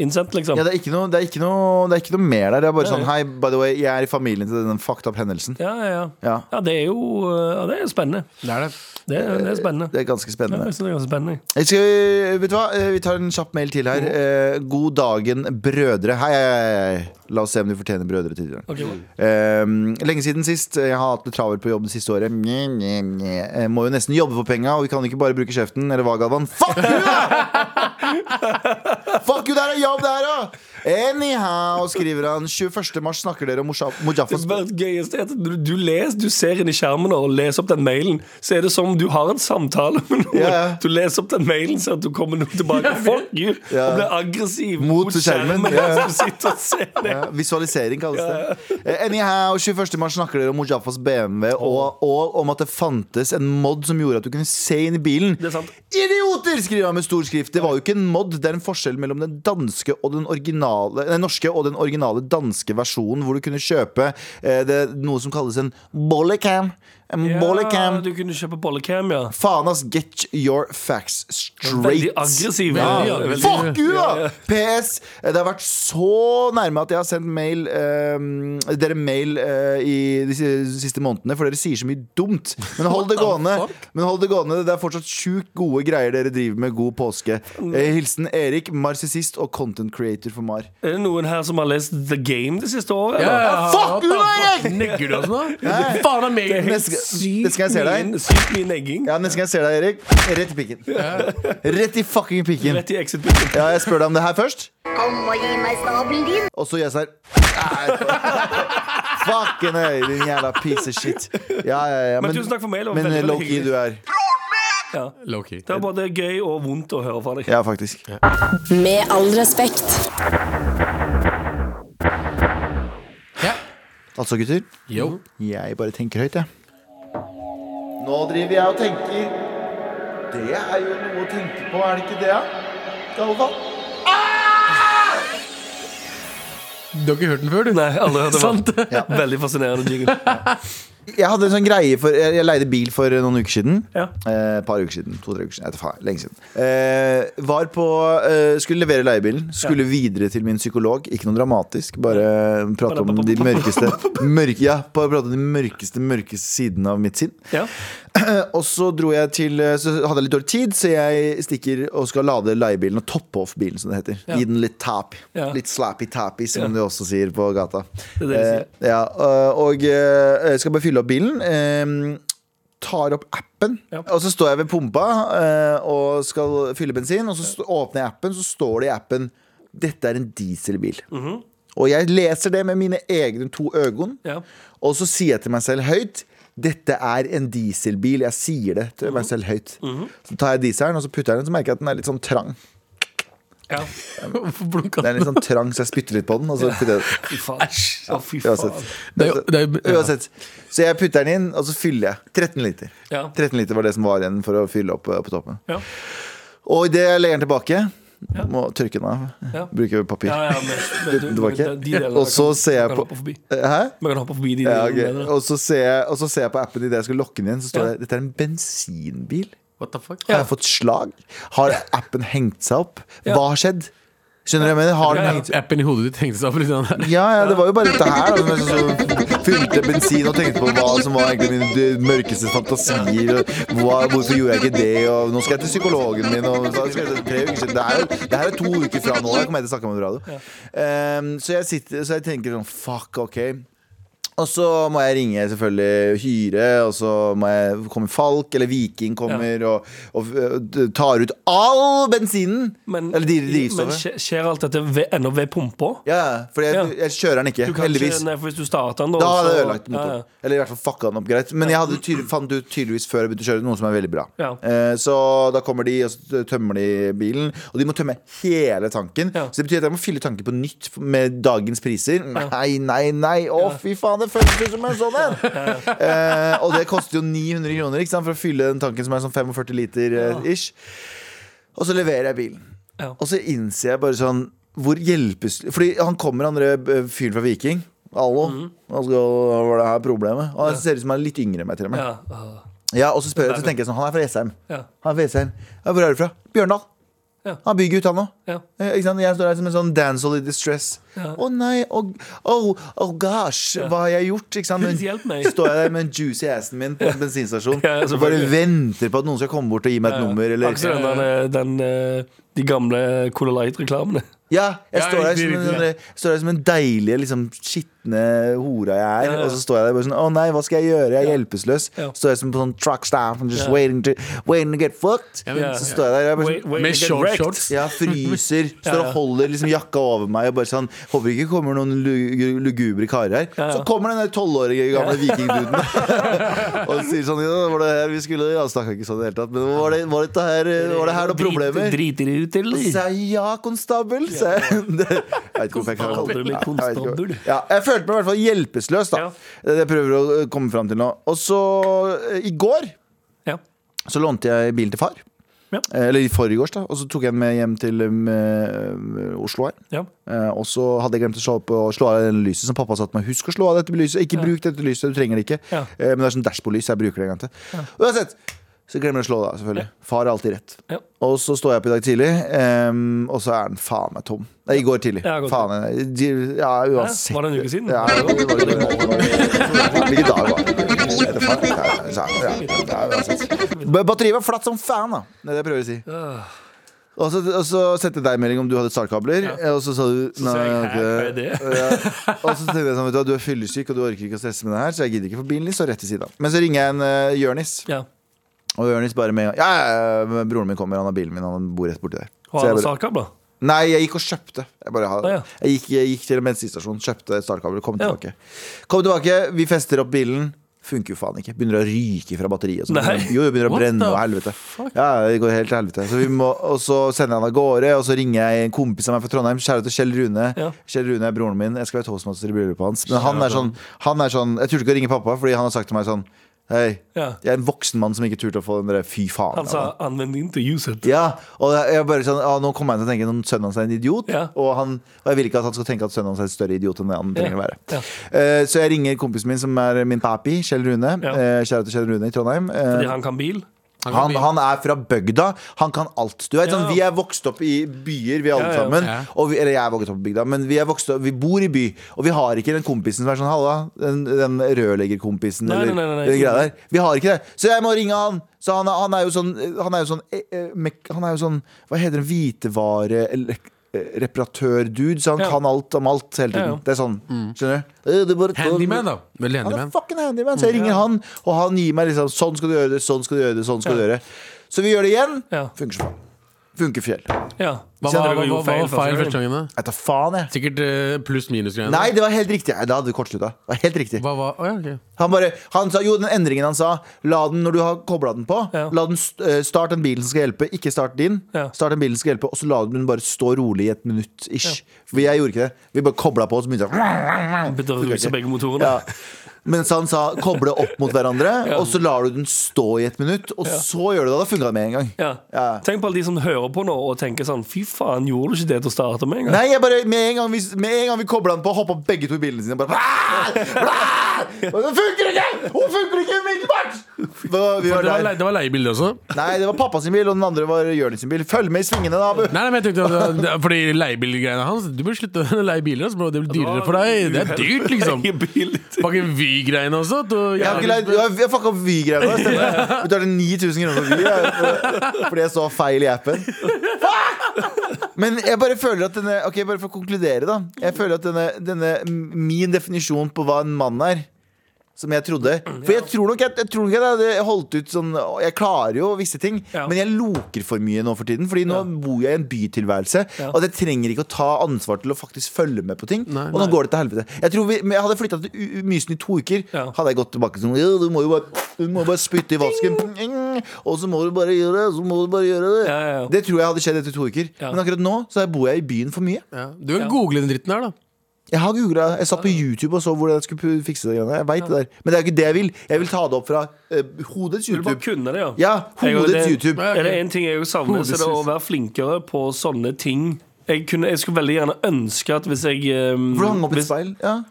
E: innsendt, liksom.
C: ja,
E: Ja,
C: det, er ikke noe, det, er ikke noe, det er ikke noe mer der. Det er bare sånn Hei, by the way, jeg er i familien til den fucked up hendelsen.
E: ja, ja.
C: Ja.
E: Ja, det er jo eh, ja, det er spennende.
D: Det er det.
E: Det er, det er spennende.
C: Det er ganske
E: Ja,
C: spennende.
E: jeg synes det er ganske spennende.
C: Jeg Skal, vi- vet du hva? Eh, Vi tar en kjapp mail til her. Eh, God dagen, brødre. Hei, hei, hei, hei. La oss se om du fortjener brødre til i dag.
E: Ok.
C: Eh, lenge siden sist. eh, Jeg har hatt det travelt på jobb det siste året. Nye, nye, nye. Jeg må jo nesten jobbe for penga, og vi kan ikke bare bruke kjeften. Eller hva, Galvan? Fuck you, da! Fuck you, det er jobb, det her, da! Anyhow, skriver han. 21. mars snakker dere om Moja-
E: Det
C: Mojafas
E: som er gøyest er at du, du leser, du ser inn i skjermen og leser opp den mailen, så er det som om du har en samtale med noen.
C: Ja, ja.
E: Du leser opp den mailen, så at du kommer noe tilbake. Fuck you!
C: Ja.
E: Og blir aggressiv
C: Mot skjermen, ja, ja.
E: som sitter og ser det.
C: Ja, Visualisering kalles det. Eh, Anyhow, 21. mars snakker dere om Mojafas BMW og, og om at det fantes en mod som gjorde at du kunne se inn i bilen.
E: er sant.
C: Idioter! skriver han med stor skrift. Det var jo ikke en mod, det er en forskjell mellom den danske og den originale Den norske og den originale danske versjonen, hvor du kunne kjøpe eh, det, noe som kalles en bollycam. En bollycam.
E: Ja, du kunne kjøpe bollecam, ja.
C: Faen, ass. Get your facts
E: Veldig
C: straight.
E: aggressiv.
D: Ja,
E: Ja, veldig-
C: Fuck you, da! PS. Det har vært så nærme at jeg har sendt mail eh, dere mail eh, i de si- siste månedene, for dere sier så mye dumt. Men hold det gående. Men hold Det gående Det er fortsatt sjukt gode greier dere driver med. God påske. Eh, Hilsen Erik, marsissist og content creator for Mar.
E: Er det noen her som har lest The Game det siste året?
D: Ja,
E: eller?
D: ja,
C: Fuck
D: ja,
C: you,
D: ja.
C: Erik!
D: Negger du oss nå? Faen, det er
E: Det er
D: meg.
E: helt
C: Neste gang-
E: sykt
C: neste gang jeg ser deg.
E: mye- Sykt mye negging.
C: Ja, Neste gang jeg ser deg, Erik, rett i pikken. Rett i fucking pikken.
E: Rett i exit-biten.
C: Ja, jeg spør deg om det her først,
F: Kom og gi meg snabelen din.
C: og så gjør jeg sånn her. Nei, Fucking øy, din jævla piece of shit. Ja, ja, ja.
E: Men tusen takk for mailen, det var
C: Men eh,
E: veldig, veldig
C: low-key
E: hyggelig.
C: du er.
E: Ja.
D: Low-key.
E: Det er både gøy og vondt å høre fra deg.
C: Ja, faktisk.
G: Med all respekt.
D: Ja.
C: Altså, gutter,
D: Yo.
C: jeg bare tenker høyt, jeg. Nå driver jeg og tenker. Det er jo noe å tenke på, er det ikke det? da? Galvan?
D: Du har ikke hørt den før, du?
E: Nei, alle hørte
D: Sant?
E: det. Veldig fascinerende jingle.
C: Jeg hadde en sånn greie for Jeg, jeg leide bil for noen uker siden.
E: Ja.
C: Eh, par uker siden. To-tre uker siden. Jeg vet faen, lenge siden. Eh, var på eh, Skulle levere leiebilen. Skulle videre til min psykolog. Ikke noe dramatisk. Bare prate om de mørkeste mørke, Ja, bare prate om de mørkeste, mørkeste sidene av mitt sinn.
E: Ja.
C: Og så dro jeg til eh, Så hadde jeg litt dårlig tid, så jeg stikker og skal lade leiebilen og toppe off bilen, som det heter. Gi den litt tap.
E: Ja.
C: Litt slappy-tappy, som
E: Ja.
C: de også sier på gata.
E: er det de sier.
C: Eh, ja, og- og eh, jeg skal bare fylle opp bilen. eh, Tar opp appen,
E: Ja.
C: og så står jeg ved pumpa eh, og skal fylle bensin. Og så st- åpner jeg appen, så står det i appen 'Dette er en dieselbil'.
E: Mhm.
C: Og jeg leser det med mine egne to øyne.
E: Ja.
C: Og så sier jeg til meg selv høyt Dette er en dieselbil. Jeg sier det til
E: Mhm.
C: meg selv høyt. Så tar jeg dieselen og så putter jeg den, så merker jeg at den er litt sånn trang.
E: Ja.
D: Hvorfor blunka
C: Den er
D: den?
C: litt sånn trang, så jeg spytter litt på den. Og så putter jeg den.
E: Fy faen. Ja, fy faen.
C: Uansett.
D: Det er jo- det er jo- ja.
C: Uansett. Så jeg putter den inn, og så fyller jeg. 13 liter.
E: Ja.
C: 13 liter var det som var igjen for å fylle opp eh, på toppen.
E: Ja.
C: Og idet jeg legger den tilbake, må tørke den av.
E: Ja.
C: Bruker papir.
E: Ja, ja, men, men, du-
C: Det var ikke-
E: de- de delene
C: Og så
E: kan-
C: ser jeg
E: kan
C: på- Eh,
E: hoppe forbi.
C: Hæ?
E: Man kan hoppe forbi de
C: Ja,
E: delene.
C: ok.
E: der, da.
C: og, så ser jeg, og så ser jeg på appen idet jeg skal lokke den inn, så står
E: Ja.
C: det dette er en bensinbil.
D: What the fuck?
C: Har jeg fått slag? Har appen hengt seg opp? Hva har skjedd? Skjønner du hva jeg mener? Har den
E: Ja, ja.
C: hengt
D: altså, Appen i hodet ditt hengte seg opp litt. sånn der.
C: ja, ja, det var jo bare dette her da, som jeg så- så fylte bensin og tenkte på hva som var egentlig mine d- mørkeste fantasier. Og hva, hvorfor gjorde jeg ikke det? Og nå skal jeg til psykologen min. Og så skal jeg til tre uker siden. Det er jo det her er to uker fra nå. Jeg kommer jeg til å snakke med på radio. Ehm, så, jeg sitter, så jeg tenker sånn Fuck, OK. Og så må jeg ringe selvfølgelig Hyre, og så må jeg komme Falk, eller Viking kommer og, og, øh, tar ut all bensinen!
E: Men,
C: eller de-
E: men
C: drivstoffet.
E: skje- skjer alt dette ved, ennå ved pumpa?
C: Ja, for jeg,
E: Ja.
C: jeg kjører den ikke,
E: Du kan
C: heldigvis.
E: Ikke, nei, for hvis du starter den, da
C: Da hadde
E: så-
C: jeg ødelagt motoren.
E: Ja, ja.
C: Eller i hvert fall fucka den opp greit. Men jeg hadde tydel, fant ut tydeligvis før jeg begynte å kjøre noe som er veldig bra.
E: Ja.
C: Eh, så da kommer de, og så tømmer de bilen. Og de må tømme hele tanken.
E: Ja.
C: Så det betyr at jeg må fylle tanken på nytt med dagens priser. Nei, nei, nei. Å, fy faen, det føles ut som en sånn en! Eh, og det koster jo 900 kroner ikke sant, for å fylle den tanken som er sånn 45 liter eh, ish. Og så leverer jeg bilen.
E: Ja.
C: Og så innser jeg bare sånn Hvor hjelpes Fordi han kommer, han der, eh, fyren fra Viking. Hallo,
E: Mhm.
C: hva skal, var det her problemet? Og han ser ut som han er litt yngre enn meg, til og med.
E: Ja,
C: Ja.
E: ah,
C: og så spør jeg, så tenker jeg sånn Han er fra Jessheim.
E: ja,
C: Han er fra Jessheim. Ja, hvor er du fra? Bjørndal.
E: Ja.
C: Han er bygutt, han òg.
E: ja.
C: Eh, Ikke sant? Jeg står her som en sånn damsel in distress. Å nei, oh, oh, oh gosh, hva har jeg gjort? Ikke sant? Men,
E: Hjelp meg.
C: står jeg der med en juicy assen min på en bensinstasjon
E: Ja,
C: og bare
E: selvfølgelig.
C: venter på at noen skal komme bort og gi meg et nummer. Eller,
E: Akkurat den, der, den, eh, de gamle Color Light-reklamene.
C: ja, jeg
D: Ja,
C: står der
D: riktig,
C: som en,
D: riktig, ja.
C: sånn- står der som en deilig, liksom, skitne hora jeg er.
E: Ja, ja.
C: Og så står jeg der bare sånn Å nei, hva skal jeg gjøre? Jeg er hjelpeløs.
E: Ja.
C: Står jeg som på sånn truck stop and just
E: Ja.
C: waiting, to, waiting to get fucked.
D: Ja, men-
E: Ja.
C: Så står jeg der og jeg bare sånn
E: Wait, wait,
D: Med
E: you get
D: short
E: wrecked.
D: shorts.
C: Ja, fryser. Står og holder liksom jakka over meg og bare sånn Håper ikke det kommer noen lu- lugubre karer her.
E: ja.
C: Så kommer den der tolvårige gamle vikingduden og sier sånn Ja, var det her vi skulle Ja, snakka ikke sånn i det hele tatt, men var det, var det, her, var det her noen
E: Drit-
C: problemer?
E: Driter du ut,
C: Så
E: eller?
C: sa jeg ja, konstabel. sa jeg. Det- Jeg vet ikke hvorfor jeg kaller
E: Konstabel.
C: det
E: Kaller du meg konstabel?
C: Ja, jeg følte meg i hvert fall hjelpeløs, da.
E: Ja.
C: Det er Det jeg prøver å eh, komme fram til nå. Og så eh, i går
E: Ja.
C: så lånte jeg bilen til far. Eh,
E: Ja.
C: Eller i forgårs, da. Og så tok jeg den med hjem til um, eh, Oslo her.
E: Ja.
C: Eh, og så hadde jeg glemt å slå, på, slå av det lyset som pappa sa til meg. Husk å slå av dette lyset. Ikke bruk dette lyset, du trenger det ikke.
E: Ja.
C: Eh, men det er sånn dashbordlys, så jeg bruker det en gang til. Uansett, så glemmer jeg å slå det av, selvfølgelig. Far har alltid rett.
E: Ja.
C: Og så står jeg opp i dag tidlig, ehm, og så er den faen meg tom. Nei, i går tidlig.
E: Ja, i går
C: faen, jeg- ja, uansett.
E: Var det en uke siden?
C: Ja, det var- det var- det var- Hvilken dag var det? Jeg vet faen. Ja, så- ja, ja, uansett. Men Batteriet var flatt som fan, da. Det er det jeg prøver å si.
E: Ah.
C: Og så, og så sendte jeg deg melding om du hadde startkabler, og så sa du
E: Så jeg,
C: nei.
E: hæ, hva er
C: ok.
E: det?
C: Ja. Og så tenkte jeg sånn, vet du hva, du er fyllesyk og du orker ikke å stresse med det her, så jeg gidder ikke, for bilen din står rett til siden av. Men så ringer jeg en uh, Jørnis.
E: Ja.
C: Og Jonis bare med Ja, ja, ja, broren min kommer, han har bilen min, han bor rett borti der.
E: Og
C: Så jeg
E: alle
C: bare,
E: startkabler?
C: nei, jeg gikk og kjøpte. Jeg, bare, har-
E: Å, ja.
C: jeg, gikk, jeg gikk til en bensinstasjon, kjøpte startkabel, kom
E: Ja.
C: tilbake. Kom tilbake, vi fester opp bilen. Funker jo faen ikke. Begynner å ryke fra batteriet. og sånn.
E: Nei.
C: Jo, det begynner å
D: What
C: brenne
D: the
C: og helvete. Ja, det går helt til helvete. Så vi må, og så sender jeg han av gårde, og så ringer jeg en kompis av meg fra Trondheim. Kjære til Kjell Rune.
E: Ja.
C: Kjell Rune er broren min. Jeg skal være toastmaster i bryllupet hans. Men han er sånn, han er sånn Jeg turte ikke å ringe pappa, fordi han har sagt til meg sånn Hei,
E: Ja.
C: jeg er en voksen mann som ikke turte å få den der fy faen.
E: Han sa Altså, 'anvend din til use it'.
C: Ja, og jeg jeg bare sånn, ah, Nå kommer jeg til å tenke at sønnen hans er en idiot.
E: Ja.
C: Og, han, og jeg vil ikke at han skal tenke at sønnen hans er en større idiot enn det han trenger å være.
E: Ja.
C: Eh, så jeg ringer kompisen min, som er min papi, Kjell Rune.
E: Ja.
C: eh, Kjære til Kjell Rune i Trondheim. Eh,
E: Fordi han kan bil.
C: han, han er fra bygda. Han kan alt. Du vet,
E: Ja.
C: sånn, vi er vokst opp i byer, vi alle
E: Ja, ja.
C: sammen.
D: Ja.
C: Og vi, eller jeg er vokst opp i bygda, men vi, er vokst opp, vi bor i by. Og vi har ikke den kompisen som er sånn halla, den, den rørleggerkompisen
E: Nei,
C: eller
E: nei, nei, nei,
C: den
E: ikke
C: greia der. Vi har ikke det. Så jeg må ringe han. Så han, er- han er jo sånn Han er jo sånn, eh, eh, mek- han er jo sånn Hva heter det? Hvitevare... Eller, eh, Reparatør-dude, så han
E: Ja.
C: kan alt om alt hele tiden.
E: Ja, Mm. ja.
C: Det er sånn. Skjønner du? Eh, det er bare-
D: Handyman, da.
C: han
D: Veldig
C: er
D: handyman.
C: fucking handyman. Så jeg ringer han, og han gir meg liksom Sånn skal du gjøre det, sånn skal du gjøre det, sånn skal du gjøre det. Så vi gjør det igjen.
E: Ja.
C: Funker som faen. Funkefjell. Jeg
E: Ja.
D: Hva
E: Kjenner
D: var,
E: dere
D: hva,
E: jo
D: hva, hva var feil første
E: gang?
D: gangen? da?
C: tar faen, jeg.
D: Sikkert eh, pluss-minus-greiene.
C: Nei, det var helt riktig. Nei, Da hadde du kortslutta. Det var Helt riktig.
D: Hva var Å ja, ok.
C: Han bare, han sa, jo, den endringen han sa La den når du har koblet den på
E: Ja.
C: la den, st- eh, Start den bilen som skal hjelpe Ikke start din,
E: Ja.
C: start den bilen som skal hjelpe Og så la den bare stå rolig i et minutt ish. For jeg gjorde ikke det, vi bare koblet på Og så begynte jeg
E: Begynte å ruse begge motorene.
C: ja. Mens han sa koble opp mot hverandre Og så lar du den stå i et minutt Og så gjør du det, da funket det med en gang
E: Ja.
C: Ja.
E: Tenk på alle de som hører på nå og tenker sånn Fy faen, gjorde du ikke det til å starte med engang?
C: Nei, jeg bare, med en gang vi, med en gang vi koblet den på Hoppet begge to i bilene sine og bare, Og Det funker ikke! Hun funker ikke umiddelbart! Vi var
D: Det var,
C: der.
D: lei- det var leiebilde også?
C: Nei, det var pappa sin bil, og den andre var Jørnis sin bil. Følg med i svingene, da, Abu!
D: Nei, nei, men jeg tenkte at det- Fordi leiebilgreiene hans Du bør slutte å leie biler. Altså, bro. det blir dyrere for deg. Det er dyrt, liksom.
E: I bil.
D: Fucking Vy-greiene også. Du,
C: Jeg har ikke leid Jeg har fucka opp Vy-greiene. da, stemmer det. Betalte 9000 kroner for Vy jeg, for- fordi jeg så feil i appen. Fuck! Men jeg bare føler at denne Ok, bare for å konkludere, da. Jeg føler at denne, denne min definisjon på hva en mann er som jeg trodde. For jeg tror nok jeg, jeg tror nok jeg hadde holdt ut sånn Jeg klarer jo visse ting,
E: Ja.
C: men jeg loker for mye nå for tiden. Fordi nå
E: Ja.
C: bor jeg i en bytilværelse,
E: Ja.
C: og jeg trenger ikke å ta ansvar til å faktisk følge med på ting.
D: Nei,
C: og nå går det til helvete. Jeg tror vi, men jeg Hadde jeg flytta til U- U- Mysen i to uker,
E: Ja.
C: hadde jeg gått tilbake sånn «Ja, Du må jo bare, du må bare spytte i vasken, Ing! og så må du bare gjøre det, så må du bare gjøre det.
E: Ja, ja, ja.
C: Det tror jeg hadde skjedd etter to uker.
E: Ja.
C: Men akkurat nå så bor jeg i byen for mye.
D: Ja. Du kan google den dritten der, da.
C: Jeg har googlet, jeg satt på YouTube og så hvordan jeg skulle pu- fikse det. greiene. Jeg vet det der Men det er jo ikke det jeg vil. Jeg vil ta det opp fra eh, hodets
E: Du bare
C: YouTube.
E: kunne det, ja.
C: Ja,
E: Jeg og
C: hodets
E: det-
C: YouTube.
E: Er det én ting jeg jo savner, så er det
D: Hodesus.
E: å være flinkere på sånne ting. Jeg, kunne, jeg skulle veldig gjerne ønske at hvis jeg ehm,
C: For du hang opp et
E: hvis,
C: speil. Ja.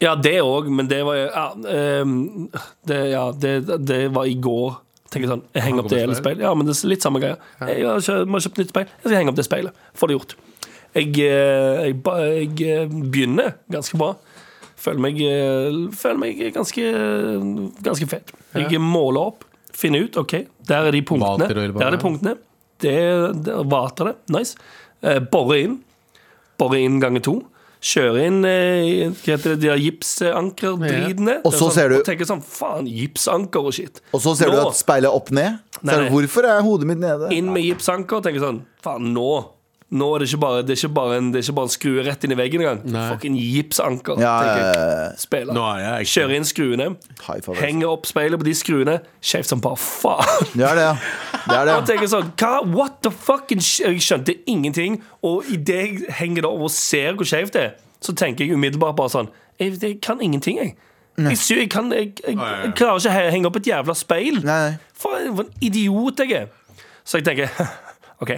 E: Ja, det òg, men det var ja, ehm, det, ja, det, det var i går. Tenker sånn, Jeg henger
D: Hang
E: opp det
D: opp et
E: hele
D: speil?
E: speilet. Ja, men det er litt samme greia. Jeg har kjøpt, må kjøpt nytt speil. Jeg skal henge opp det speilet. Få det gjort. Jeg, eh, jeg, ba- jeg eh, begynner ganske bra. Føler meg, eh, føler meg ganske, ganske fet. Jeg måler opp, finner ut. OK, der er de punktene.
D: Vater og hele
E: Der er de
D: banen.
E: punktene. Det, det vater det. Nice. Eh, Bore inn. Bore inn ganger to. Kjøre inn eh, hva heter det, de der gipsanker-dritene.
C: Og så
E: sånn,
C: ser du-
E: Og tenker sånn, faen, gipsanker og shit.
C: Og så ser du
E: Nå-
C: at speilet er opp ned. Så
E: Nei,
C: er det,
E: nei.
C: hvorfor er hodet mitt nede?
E: Inn med gipsanker og tenker sånn, faen, nå Nå er det ikke bare, det er ikke bare en, det er ikke bare en skrue rett inn i veggen engang.
D: Nei.
E: Fucking gipsanker.
C: Ja,
E: tenker jeg.
C: eh,
E: Spiller.
D: Nå er jeg
E: Kjører inn skruene.
C: High five, altså.
E: Henger opp speilet på de skruene. Skjevt som bare faen.
C: det er det, ja. Det er det.
E: Og tenker sånn, hva, what the fucking sh-" Jeg skjønte ingenting Og i det jeg henger det over og ser hvor skjevt det er Så tenker jeg umiddelbart bare sånn Jeg, jeg kan ingenting jeg jeg, sy- jeg, kan, jeg, jeg, jeg klarer ikke å henge opp et jævla speil
C: Nei, nei.
E: For for en idiot jeg er Så jeg tenker, ok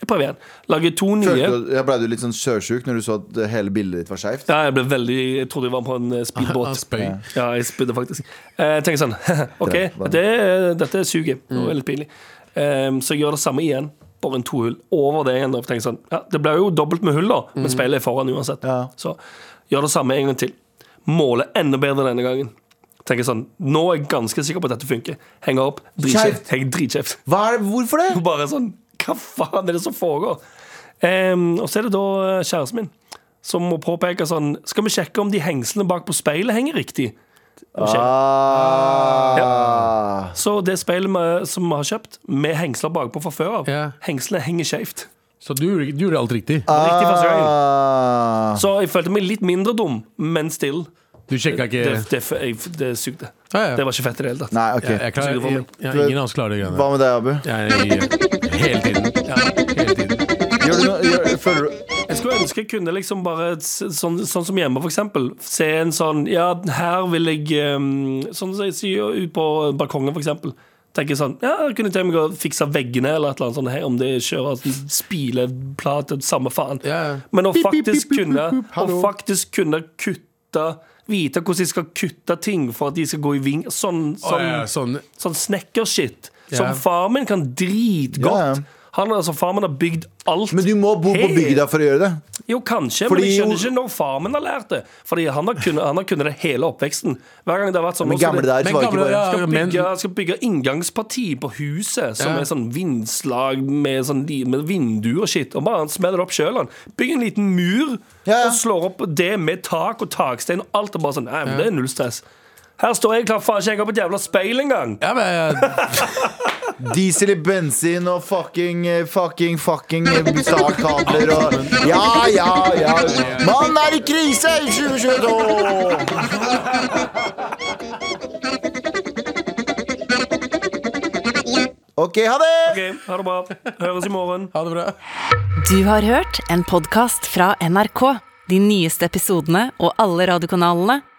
E: Jeg prøver igjen Lager to nye
C: Følte du- Jeg Ble du litt sånn sørsjuk når du så at hele bildet ditt var skeivt?
E: ja, jeg, ble veldig, jeg trodde jeg var på en eh,
D: Han
E: speedbåt
D: spøy.
E: Ja, jeg spydde faktisk. Eh, Jeg tenker sånn OK,
C: Drømmer.
E: det, Mm. dette suger. Det var litt pinlig. Ehm, så jeg gjør det samme igjen, bare en to hull over det igjen. da, for jeg tenker sånn, ja, det blir jo dobbelt med hull, da, men speilet er foran uansett.
C: Ja.
E: Så gjør det samme en gang til. Måler enda bedre denne gangen. Tenker sånn, Nå er jeg ganske sikker på at dette funker. Henger opp. Dritskjevt.
C: Skjevt.
E: Henger dritkjevt.
C: Hva er det, hvorfor det?
E: Og bare sånn Hva faen er det som foregår? Ehm, og så er det da eh, kjæresten min som må påpeke sånn Skal vi sjekke om de hengslene bak på speilet henger riktig? Og sjekk.
C: Ah.
E: Så det speilet vi- som vi har kjøpt, med hengsler bakpå fra før av,
D: Ja.
E: hengslene henger skjevt.
D: Så du, gjorde- du gjorde alt riktig.
E: Riktig første gangen.
C: Ah.
E: Så jeg følte meg litt mindre dum, men still.
D: Du sjekka ikke
E: Det, det, jeg- det sugde.
D: Ja, Ah, ja.
E: Det var ikke fett i det hele tatt.
C: Nei,
D: Jeg,
C: ok.
D: jeg, klarer- jeg, jeg, ingen av oss klarer de greiene.
C: Hva med deg, Abu?
D: Jeg, jeg, hele tiden. Ja, hele tiden.
C: Gjør du noe? Gjør, føler du
E: Jeg skulle ønske jeg kunne liksom bare s- sånn, sånn som hjemme, for eksempel. Se en sånn Ja, her vil jeg um, Sånn som jeg sier ut på balkongen, for eksempel. Tenker sånn Ja, jeg kunne tenkt meg å fikse veggene eller et eller annet sånt. Her, om det kjører sånn spileplate, samme faen.
D: Ja, ja.
E: Men å
D: Pip, pip, pip,
E: faktisk
D: pip,
E: kunne
D: pip, pip.
E: Å faktisk kunne kutte Vite hvordan de skal kutte ting for at de skal gå i ving. Sånn,
D: Å,
E: sånn,
D: ja, ja, sånn.
E: sånn snekkershit.
D: Ja.
E: Som far min kan
C: Ja,
E: dritgodt.
C: ja.
E: Han, altså, far min har bygd alt.
C: Men du må bo på
E: Helt
C: bygda for å gjøre det.
E: jo, kanskje,
C: Fordi
E: men jeg skjønner
C: jo-
E: ikke når far min har lært det. Fordi han har kunnet, han har kunnet det hele oppveksten. Hver gang det har vært sånn
C: Men
E: nå skal
C: gamle
E: det-
C: der så
D: Men
C: var det ikke
D: gamle,
C: bare
D: ja.
E: skal
D: men-
E: bygge, skal bygge inngangsparti på huset, som
D: Ja.
E: er sånn vindslag med, sånn, li- med vinduer og shit. Og bare han smeller det opp sjøl, han. Bygg en liten mur
C: Ja, ja.
E: og slår opp det med tak og takstein og alt. Og bare sånn, nei, men det er null stress. Her står jeg klar, faen ikke jeg har på et jævla speil engang.
D: Ja, men jeg,
C: Diesel i bensin og fucking, eh, fucking, fucking startkabler og Ja, ja, ja. Mannen er i krise i 2022! OK, ha det!
E: Ok, ha det bra. Høres i morgen.
D: Ha det bra.
A: Du har hørt en podkast fra NRK. De nyeste episodene og alle radiokanalene